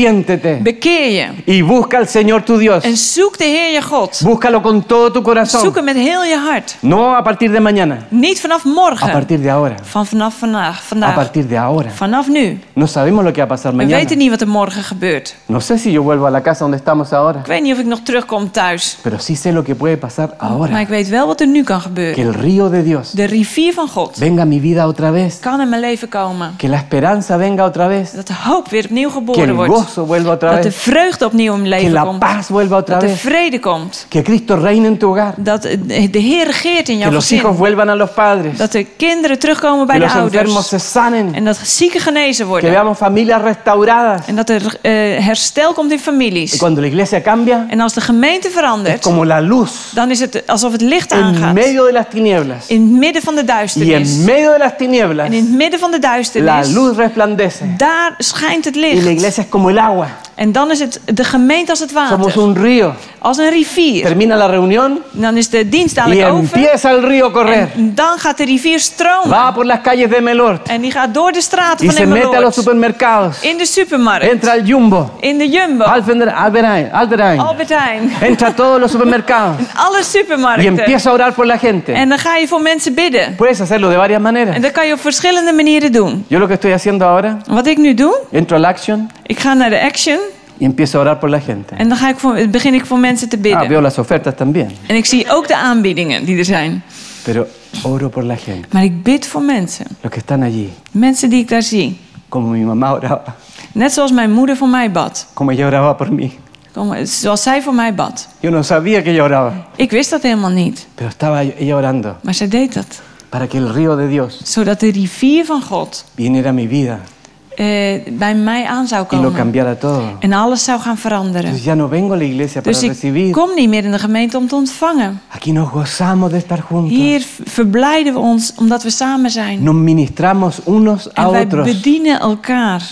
Speaker 1: Arrepiéntete
Speaker 2: Bekeer je.
Speaker 1: y busca al Señor tu Dios.
Speaker 2: En zoek de Heer je God.
Speaker 1: Búscalo con todo tu
Speaker 2: Zoek
Speaker 1: corazón.
Speaker 2: hem met heel je hart.
Speaker 1: No a partir partir de mañana,
Speaker 2: Niet vanaf
Speaker 1: a
Speaker 2: morgen.
Speaker 1: partir de ahora,
Speaker 2: Van vanaf vandaag.
Speaker 1: a
Speaker 2: vandaag.
Speaker 1: partir de ahora.
Speaker 2: Vanaf nu.
Speaker 1: No sabemos lo que va a pasar
Speaker 2: We
Speaker 1: mañana.
Speaker 2: weten niet wat er morgen gebeurt.
Speaker 1: No sé si yo vuelvo a la casa donde estamos ahora,
Speaker 2: Ik weet niet of ik nog terugkom thuis.
Speaker 1: pero sí sé lo que puede pasar
Speaker 2: Maar
Speaker 1: ahora.
Speaker 2: ik weet wel wat er nu kan gebeuren.
Speaker 1: Que el río de Dios
Speaker 2: De rivier van God
Speaker 1: venga a mi vida otra vez,
Speaker 2: kan in mijn leven komen.
Speaker 1: que la esperanza venga otra vez,
Speaker 2: Dat de hoop weer opnieuw
Speaker 1: que
Speaker 2: geboren
Speaker 1: el
Speaker 2: wordt.
Speaker 1: gozo vuelva otra
Speaker 2: Dat de
Speaker 1: vez,
Speaker 2: vreugde opnieuw in mijn
Speaker 1: que
Speaker 2: leven
Speaker 1: la
Speaker 2: komt.
Speaker 1: paz vuelva otra
Speaker 2: Dat de
Speaker 1: vez,
Speaker 2: vrede komt.
Speaker 1: que Cristo reine en tu hogar,
Speaker 2: Dat de de Heer regeert in
Speaker 1: que
Speaker 2: jouw
Speaker 1: los hijos
Speaker 2: gezin.
Speaker 1: vuelvan a los padres,
Speaker 2: Dat de kinderen terugkomen bij
Speaker 1: que
Speaker 2: de
Speaker 1: los enfermos
Speaker 2: ouders.
Speaker 1: se sanen,
Speaker 2: En dat zieken genezen
Speaker 1: que
Speaker 2: worden.
Speaker 1: veamos familias restauradas.
Speaker 2: En dat er eh, herstel komt in
Speaker 1: Y
Speaker 2: families.
Speaker 1: cuando la iglesia cambia,
Speaker 2: En als de gemeente
Speaker 1: es
Speaker 2: verandert,
Speaker 1: como la luz
Speaker 2: dan is het alsof het licht
Speaker 1: en
Speaker 2: aangaat.
Speaker 1: medio de las tinieblas.
Speaker 2: In het midden van de
Speaker 1: Y en
Speaker 2: duisternis.
Speaker 1: medio de las tinieblas,
Speaker 2: En in het midden van de
Speaker 1: la
Speaker 2: duisternis,
Speaker 1: luz resplandece.
Speaker 2: daar schijnt het
Speaker 1: Y la
Speaker 2: licht.
Speaker 1: iglesia es como el agua.
Speaker 2: En dan is het de gemeente als het
Speaker 1: Somos
Speaker 2: water.
Speaker 1: un río.
Speaker 2: Als een rivier.
Speaker 1: Termina la reunión
Speaker 2: En dan is de dienst
Speaker 1: y
Speaker 2: dadelijk over.
Speaker 1: empieza el río a correr.
Speaker 2: En dan gaat de rivier stromen.
Speaker 1: Va por las calles de Melort
Speaker 2: En die gaat door de straten
Speaker 1: y
Speaker 2: van
Speaker 1: se mete a los
Speaker 2: Emmeloord.
Speaker 1: supermercados.
Speaker 2: In de supermarkt.
Speaker 1: Entra al Jumbo,
Speaker 2: In de Jumbo.
Speaker 1: Alfender- Albert Ein- Albert Ein.
Speaker 2: Albert Heijn.
Speaker 1: Entra a todos los supermercados
Speaker 2: Alle
Speaker 1: y
Speaker 2: supermarkten.
Speaker 1: empieza a orar por la gente.
Speaker 2: Este. En dan ga je voor mensen bidden.
Speaker 1: Puedes hacerlo de varias
Speaker 2: En
Speaker 1: maneras.
Speaker 2: dat kan je op verschillende manieren doen.
Speaker 1: Yo lo que estoy haciendo ahora,
Speaker 2: Wat ik nu doe,
Speaker 1: entro al Action
Speaker 2: ik ga naar de action.
Speaker 1: y empiezo a orar por la gente.
Speaker 2: En dan ga ik voor, begin ik voor mensen te
Speaker 1: Ah,
Speaker 2: bidden.
Speaker 1: veo las ofertas también,
Speaker 2: En ik zie ook de aanbiedingen die er zijn.
Speaker 1: pero oro por la gente,
Speaker 2: Maar ik bid voor mensen.
Speaker 1: los que están allí,
Speaker 2: Mensen die ik daar zie.
Speaker 1: como mi mamá oraba,
Speaker 2: Net zoals mijn moeder voor mij bad.
Speaker 1: como ella oraba por mí.
Speaker 2: Kom, Zoals zij voor mij bad.
Speaker 1: Yo no sabía que ella oraba,
Speaker 2: Ik wist dat helemaal niet.
Speaker 1: pero estaba ella orando
Speaker 2: Maar zij deed dat.
Speaker 1: para que el río de Dios
Speaker 2: Zodat de rivier van God
Speaker 1: viniera a mi vida
Speaker 2: eh, bij mij aan zou
Speaker 1: y lo
Speaker 2: komen.
Speaker 1: cambiara todo.
Speaker 2: En alles zou gaan veranderen.
Speaker 1: Entonces ya no vengo a la iglesia para
Speaker 2: Dus ik
Speaker 1: recibir.
Speaker 2: kom niet meer in de gemeente om te ontvangen.
Speaker 1: Aquí nos gozamos de estar juntos.
Speaker 2: Hier v- verblijden we ons omdat we samen zijn.
Speaker 1: Nos ministramos unos a
Speaker 2: En wij
Speaker 1: otros.
Speaker 2: bedienen elkaar.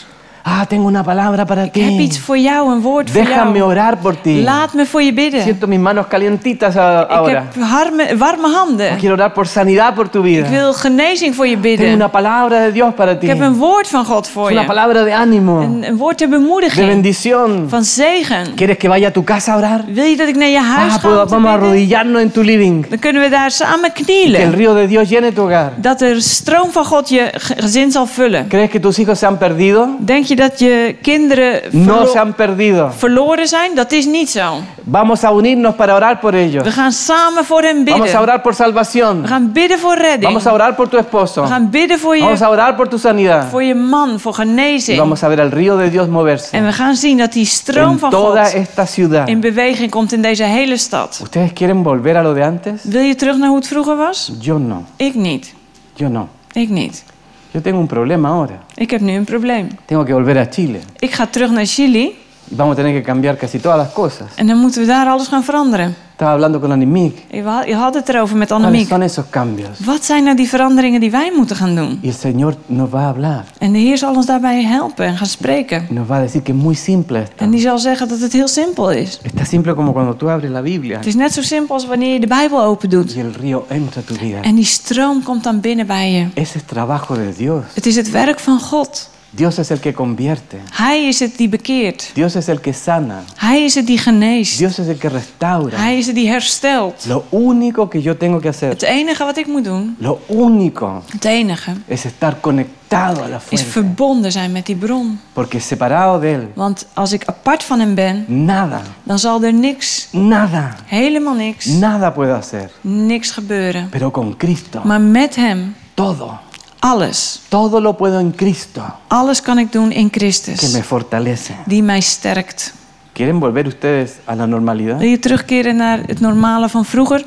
Speaker 1: Ah, tengo una palabra para
Speaker 2: Ik heb
Speaker 1: ti.
Speaker 2: iets voor jou, een woord voor
Speaker 1: Déjame
Speaker 2: jou.
Speaker 1: orar por ti.
Speaker 2: Laat me voor je bidden.
Speaker 1: Siento mis manos calientitas a-
Speaker 2: Ik
Speaker 1: ahora.
Speaker 2: heb warme, warme handen.
Speaker 1: Quiero orar por sanidad por tu
Speaker 2: Ik
Speaker 1: vida.
Speaker 2: wil genezing voor je
Speaker 1: Tengo
Speaker 2: bidden.
Speaker 1: una palabra de Dios para
Speaker 2: Ik
Speaker 1: ti.
Speaker 2: heb een woord van God voor
Speaker 1: una
Speaker 2: je.
Speaker 1: palabra de ánimo,
Speaker 2: Een, een woord ter
Speaker 1: de
Speaker 2: bemoediging.
Speaker 1: bendición.
Speaker 2: Van zegen.
Speaker 1: ¿Quieres que vaya a tu casa a orar?
Speaker 2: Wil je dat ik naar je huis
Speaker 1: Ah,
Speaker 2: ga?
Speaker 1: pues
Speaker 2: om te
Speaker 1: vamos a
Speaker 2: bidden?
Speaker 1: arrodillarnos en tu living.
Speaker 2: Dan kunnen we daar samen
Speaker 1: Que el
Speaker 2: knielen.
Speaker 1: río de Dios llene tu hogar.
Speaker 2: Dat de stroom van God je ge- gezin zal vullen.
Speaker 1: ¿Crees que tus hijos se han perdido?
Speaker 2: Denk je dat je kinderen
Speaker 1: No
Speaker 2: verlo-
Speaker 1: se han perdido.
Speaker 2: verloren zijn? Dat is niet zo.
Speaker 1: Vamos a unirnos para orar por
Speaker 2: We
Speaker 1: ellos.
Speaker 2: gaan samen voor hen
Speaker 1: Vamos a
Speaker 2: bidden.
Speaker 1: orar por
Speaker 2: We
Speaker 1: salvación.
Speaker 2: gaan bidden voor redding.
Speaker 1: Vamos a orar por tu esposo.
Speaker 2: We gaan bidden voor je
Speaker 1: Vamos a orar por tu sanidad.
Speaker 2: voor je man, voor
Speaker 1: Y
Speaker 2: genezing.
Speaker 1: vamos a ver al río de Dios
Speaker 2: En
Speaker 1: moverse
Speaker 2: we gaan zien dat die stroom
Speaker 1: en
Speaker 2: van
Speaker 1: toda
Speaker 2: God
Speaker 1: esta ciudad.
Speaker 2: in beweging komt in deze hele stad.
Speaker 1: ¿Ustedes quieren volver a lo de antes?
Speaker 2: Wil je terug naar hoe het vroeger was?
Speaker 1: Yo no,
Speaker 2: Ik niet.
Speaker 1: yo no.
Speaker 2: Ik niet.
Speaker 1: Yo tengo un problema ahora.
Speaker 2: Ik heb nu een probleem.
Speaker 1: Tengo que volver a Chile.
Speaker 2: Ik ga terug naar Chili
Speaker 1: Y Vamos a tener que cambiar casi todas las cosas.
Speaker 2: en dan moeten we daar alles gaan veranderen.
Speaker 1: Estaba hablando con Animic.
Speaker 2: Je wa- je had het erover met
Speaker 1: ¿Cuáles
Speaker 2: Annemiek.
Speaker 1: son esos cambios?
Speaker 2: Wat zijn nou die veranderingen die wij moeten gaan doen?
Speaker 1: Y el Señor nos va a hablar.
Speaker 2: En de Heer zal ons daarbij helpen en gaan spreken.
Speaker 1: Y Nos va a decir que es muy simple esto.
Speaker 2: En die zal zeggen dat het heel simpel is.
Speaker 1: Está simple como cuando tú abres la Biblia
Speaker 2: Het is net zo simpel als wanneer je de Bijbel open doet.
Speaker 1: y el río entra a tu vida.
Speaker 2: En die stroom komt dan binnen bij je.
Speaker 1: Ese es trabajo de Dios.
Speaker 2: Het is het werk van God.
Speaker 1: Dios es el que convierte.
Speaker 2: Hij is het die bekeert.
Speaker 1: Dios es el que sana.
Speaker 2: Hij is het die geneest.
Speaker 1: Dios es el que restaura.
Speaker 2: Hij is het die herstelt.
Speaker 1: Lo único que yo tengo que hacer,
Speaker 2: Het enige wat ik moet doen,
Speaker 1: lo único,
Speaker 2: het enige,
Speaker 1: es estar conectado a la
Speaker 2: is
Speaker 1: fuente.
Speaker 2: verbonden zijn met die bron.
Speaker 1: Porque separado de Él,
Speaker 2: Want als ik apart van hem ben,
Speaker 1: nada,
Speaker 2: dan zal er niks,
Speaker 1: nada,
Speaker 2: helemaal niks,
Speaker 1: nada puedo hacer.
Speaker 2: niks gebeuren.
Speaker 1: Pero con Cristo,
Speaker 2: Maar met hem,
Speaker 1: todo,
Speaker 2: alles,
Speaker 1: todo lo puedo en Cristo,
Speaker 2: alles kan ik doen in
Speaker 1: que me
Speaker 2: Christus,
Speaker 1: fortalece.
Speaker 2: die mij sterkt.
Speaker 1: ¿Quieren volver ustedes a la normalidad?
Speaker 2: Wil je terugkeren naar het normale van vroeger?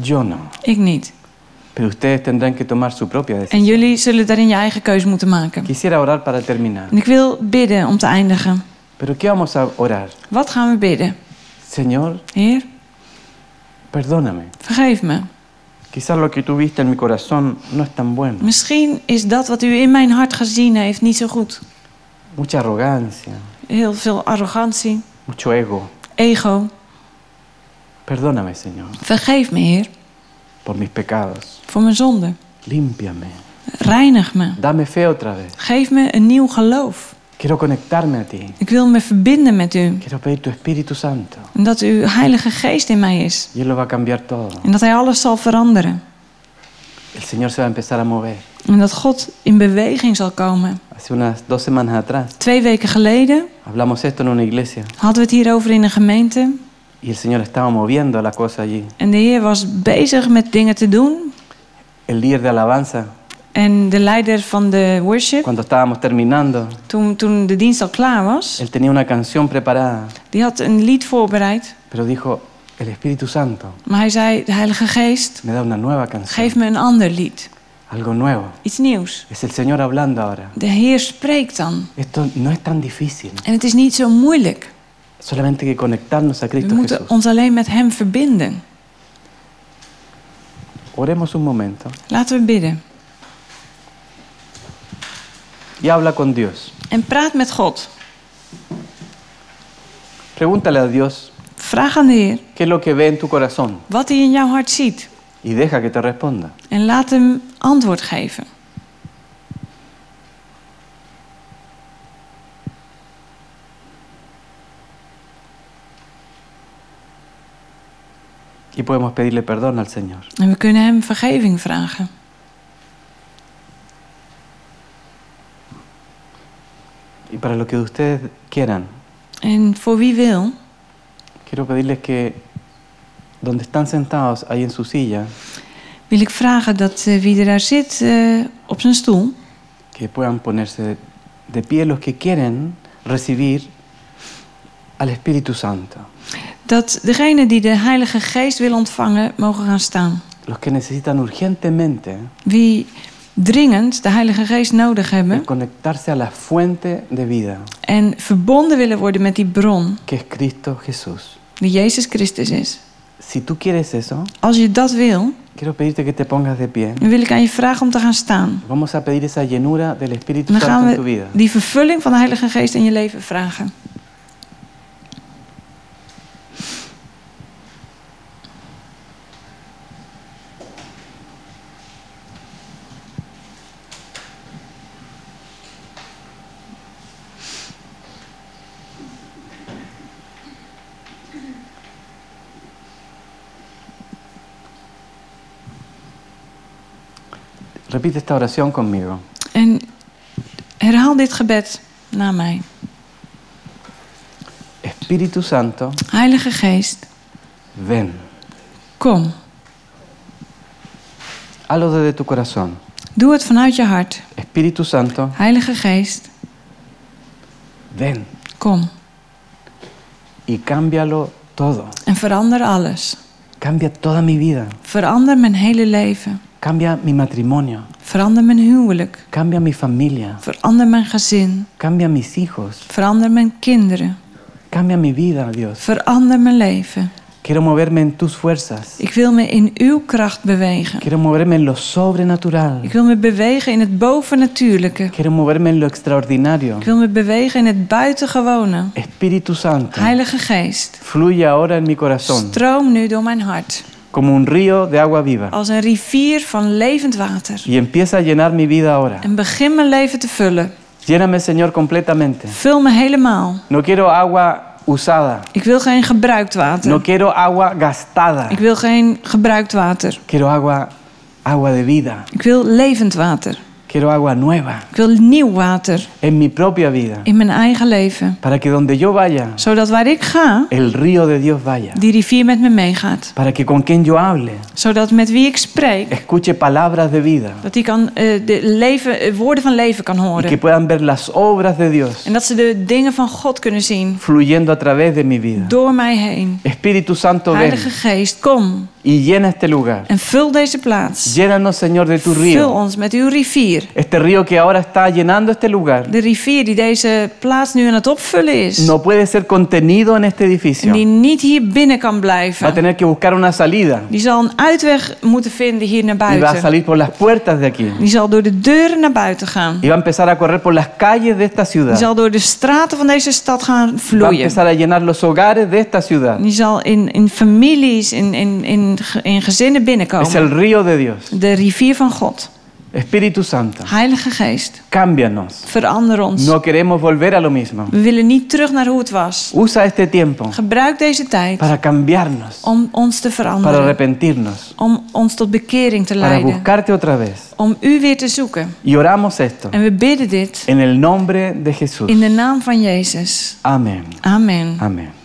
Speaker 1: Yo no.
Speaker 2: Ik niet.
Speaker 1: Pero ustedes tendrán que tomar su propia decisión.
Speaker 2: En jullie zullen daarin je eigen keuze moeten maken.
Speaker 1: Quisiera orar para terminar.
Speaker 2: En ik wil bidden om te eindigen.
Speaker 1: Pero ¿qué vamos a orar?
Speaker 2: Wat gaan we bidden?
Speaker 1: Señor,
Speaker 2: Heer,
Speaker 1: perdóname.
Speaker 2: vergeef me.
Speaker 1: Quizás lo que tú viste en mi corazón no es tan bueno.
Speaker 2: Misschien is dat wat u in mijn hart gezien heeft niet zo goed.
Speaker 1: Mucha arrogancia,
Speaker 2: Heel veel arrogantie,
Speaker 1: mucho ego.
Speaker 2: ego.
Speaker 1: Perdóname, Señor,
Speaker 2: Vergeef me, Heer,
Speaker 1: por mis pecados.
Speaker 2: voor mijn zonde.
Speaker 1: Límpiame.
Speaker 2: Reinig me.
Speaker 1: Dame fe otra vez.
Speaker 2: Geef me een nieuw geloof.
Speaker 1: Quiero conectarme a ti.
Speaker 2: Ik wil me verbinden met u.
Speaker 1: Quiero pedir tu Espíritu Santo.
Speaker 2: En dat uw heilige geest in mij is.
Speaker 1: Y Él lo va a cambiar todo.
Speaker 2: En dat hij alles zal veranderen.
Speaker 1: el Señor se va a empezar a mover.
Speaker 2: En dat God in beweging zal komen.
Speaker 1: Hace unas dos semanas atrás
Speaker 2: Twee weken geleden
Speaker 1: hablamos esto en una iglesia
Speaker 2: hadden we het hierover in een gemeente.
Speaker 1: y el Señor estaba moviendo la cosa allí.
Speaker 2: En de Heer was bezig met dingen te doen.
Speaker 1: El líder de alabanza,
Speaker 2: En de leider van de worship,
Speaker 1: cuando estábamos terminando,
Speaker 2: toen, toen de dienst al klaar was,
Speaker 1: él tenía una canción preparada,
Speaker 2: die had een lied voorbereid.
Speaker 1: pero dijo, el Espíritu Santo
Speaker 2: Maar hij zei, de Heilige Geest,
Speaker 1: me da una nueva canción,
Speaker 2: geef me een ander lied.
Speaker 1: algo nuevo.
Speaker 2: Iets nieuws.
Speaker 1: Es el Señor hablando ahora.
Speaker 2: De Heer spreekt dan.
Speaker 1: Esto no es tan difícil,
Speaker 2: En het is niet zo moeilijk.
Speaker 1: solamente que conectarnos a
Speaker 2: We
Speaker 1: Cristo Jesús.
Speaker 2: moeten ons alleen met Hem verbinden.
Speaker 1: Oremos un momento
Speaker 2: Laten we bidden.
Speaker 1: y habla con Dios.
Speaker 2: En praat met God.
Speaker 1: Pregúntale a Dios
Speaker 2: Vraag aan de Heer
Speaker 1: qué es lo que ve en tu corazón
Speaker 2: wat Hij in jouw hart ziet.
Speaker 1: y deja que te responda.
Speaker 2: En laat Hem antwoord geven.
Speaker 1: Y podemos pedirle perdón al Señor.
Speaker 2: En we kunnen Hem vergeving vragen.
Speaker 1: Y para lo que ustedes quieran,
Speaker 2: En voor wie wil,
Speaker 1: quiero pedirles que donde están sentados, ahí en su silla,
Speaker 2: wil ik vragen dat eh, wie er daar zit eh, op zijn stoel,
Speaker 1: que puedan ponerse de pie los que quieren recibir al Espíritu Santo.
Speaker 2: dat degenen die de Heilige Geest willen ontvangen, mogen gaan staan.
Speaker 1: Los que necesitan urgentemente
Speaker 2: Wie dringend de Heilige Geest nodig
Speaker 1: el
Speaker 2: hebben
Speaker 1: conectarse a la fuente de vida,
Speaker 2: en verbonden willen worden met die bron
Speaker 1: que es Cristo Jesús.
Speaker 2: die Jezus Christus is.
Speaker 1: Si tú quieres eso,
Speaker 2: Als je dat wil,
Speaker 1: quiero pedirte que te pongas de pie.
Speaker 2: dan wil ik aan je vragen om te gaan staan.
Speaker 1: Vamos a pedir esa llenura del Espíritu
Speaker 2: En dan
Speaker 1: Santo
Speaker 2: gaan
Speaker 1: en tu
Speaker 2: we
Speaker 1: vida.
Speaker 2: die vervulling van de Heilige Geest in je leven vragen.
Speaker 1: Repite esta oración conmigo.
Speaker 2: En herhaal dit gebed na mij.
Speaker 1: Espíritu Santo,
Speaker 2: Heilige Geest,
Speaker 1: ven.
Speaker 2: kom.
Speaker 1: Halo desde tu corazón.
Speaker 2: Doe het vanuit je hart.
Speaker 1: Espíritu Santo,
Speaker 2: Heilige Geest,
Speaker 1: ven
Speaker 2: kom.
Speaker 1: y cámbialo todo.
Speaker 2: En verander alles.
Speaker 1: Cambia toda mi vida.
Speaker 2: Verander mijn hele leven.
Speaker 1: Cambia mi matrimonio.
Speaker 2: Verander mijn huwelijk.
Speaker 1: Cambia mi familia.
Speaker 2: Verander mijn gezin.
Speaker 1: Cambia mis hijos.
Speaker 2: Verander mijn kinderen.
Speaker 1: Cambia mi vida, Dios.
Speaker 2: Verander mijn leven.
Speaker 1: Quiero moverme en tus fuerzas.
Speaker 2: Ik wil me in uw kracht bewegen.
Speaker 1: Quiero moverme en lo
Speaker 2: Ik
Speaker 1: sobrenatural.
Speaker 2: wil me bewegen in het bovennatuurlijke.
Speaker 1: Quiero moverme en lo extraordinario.
Speaker 2: Ik wil me bewegen in het buitengewone.
Speaker 1: Espíritu Santo,
Speaker 2: Heilige Geest,
Speaker 1: fluye ahora en mi corazón
Speaker 2: stroom nu door mijn hart.
Speaker 1: como un río de agua viva
Speaker 2: Als een rivier van levend water.
Speaker 1: y empieza a llenar mi vida ahora.
Speaker 2: En begin mijn leven te vullen.
Speaker 1: Lléname, Señor, completamente.
Speaker 2: Vul me helemaal.
Speaker 1: No quiero agua usada.
Speaker 2: Ik wil geen gebruikt water.
Speaker 1: No quiero agua gastada.
Speaker 2: Ik wil geen gebruikt water.
Speaker 1: Quiero agua, agua de vida.
Speaker 2: Ik wil levend water.
Speaker 1: Quiero agua nueva
Speaker 2: Ik wil nieuw water
Speaker 1: en mi propia vida.
Speaker 2: in mijn eigen leven.
Speaker 1: Para que donde yo vaya,
Speaker 2: Zodat waar ik ga,
Speaker 1: el río de Dios vaya.
Speaker 2: die rivier met me meegaat.
Speaker 1: Para que con quien yo hable,
Speaker 2: Zodat met wie ik spreek,
Speaker 1: escuche palabras de vida.
Speaker 2: dat die kan, eh, de leven, eh, woorden van leven kan
Speaker 1: Y que
Speaker 2: horen.
Speaker 1: puedan ver las obras de Dios
Speaker 2: En dat ze de dingen van God kunnen zien.
Speaker 1: fluyendo a través de mi vida.
Speaker 2: Door mij heen.
Speaker 1: Espíritu Santo, ven
Speaker 2: Heilige Geest, kom
Speaker 1: y llena este lugar.
Speaker 2: en vul deze plaats.
Speaker 1: Llénanos, Señor, de tu
Speaker 2: Vul
Speaker 1: río.
Speaker 2: ons met uw rivier.
Speaker 1: Este río que ahora está llenando este lugar
Speaker 2: De rivier die deze plaats nu aan het opvullen is.
Speaker 1: no puede ser contenido en este
Speaker 2: En
Speaker 1: edificio.
Speaker 2: die niet hier binnen kan
Speaker 1: Va a
Speaker 2: blijven.
Speaker 1: tener que buscar una salida
Speaker 2: Die zal een uitweg moeten vinden hier naar
Speaker 1: y va a
Speaker 2: buiten.
Speaker 1: salir por las puertas de aquí.
Speaker 2: Die zal door de deuren naar buiten gaan.
Speaker 1: Y va a empezar a correr por las calles de esta
Speaker 2: Die
Speaker 1: ciudad.
Speaker 2: zal door de straten van deze stad gaan
Speaker 1: Va a
Speaker 2: vloeien.
Speaker 1: empezar a llenar los hogares de esta ciudad.
Speaker 2: Die zal in, in families, in, in, in, ge- in gezinnen
Speaker 1: Es el
Speaker 2: binnenkomen.
Speaker 1: río de Dios.
Speaker 2: De rivier van God.
Speaker 1: Espíritu Santo,
Speaker 2: Heilige Geest,
Speaker 1: cámbianos.
Speaker 2: verander ons.
Speaker 1: No queremos volver a lo mismo.
Speaker 2: We willen niet terug naar hoe het was.
Speaker 1: Usa este tiempo
Speaker 2: Gebruik deze tijd
Speaker 1: para cambiarnos,
Speaker 2: om ons te
Speaker 1: para
Speaker 2: veranderen.
Speaker 1: arrepentirnos,
Speaker 2: Om ons tot bekering te
Speaker 1: para
Speaker 2: leiden.
Speaker 1: buscarte otra vez.
Speaker 2: Om u weer te zoeken.
Speaker 1: Y oramos esto
Speaker 2: En we bidden dit
Speaker 1: en el nombre de Jesús.
Speaker 2: in de naam van Jezus.
Speaker 1: Amén.
Speaker 2: Amen.
Speaker 1: Amén.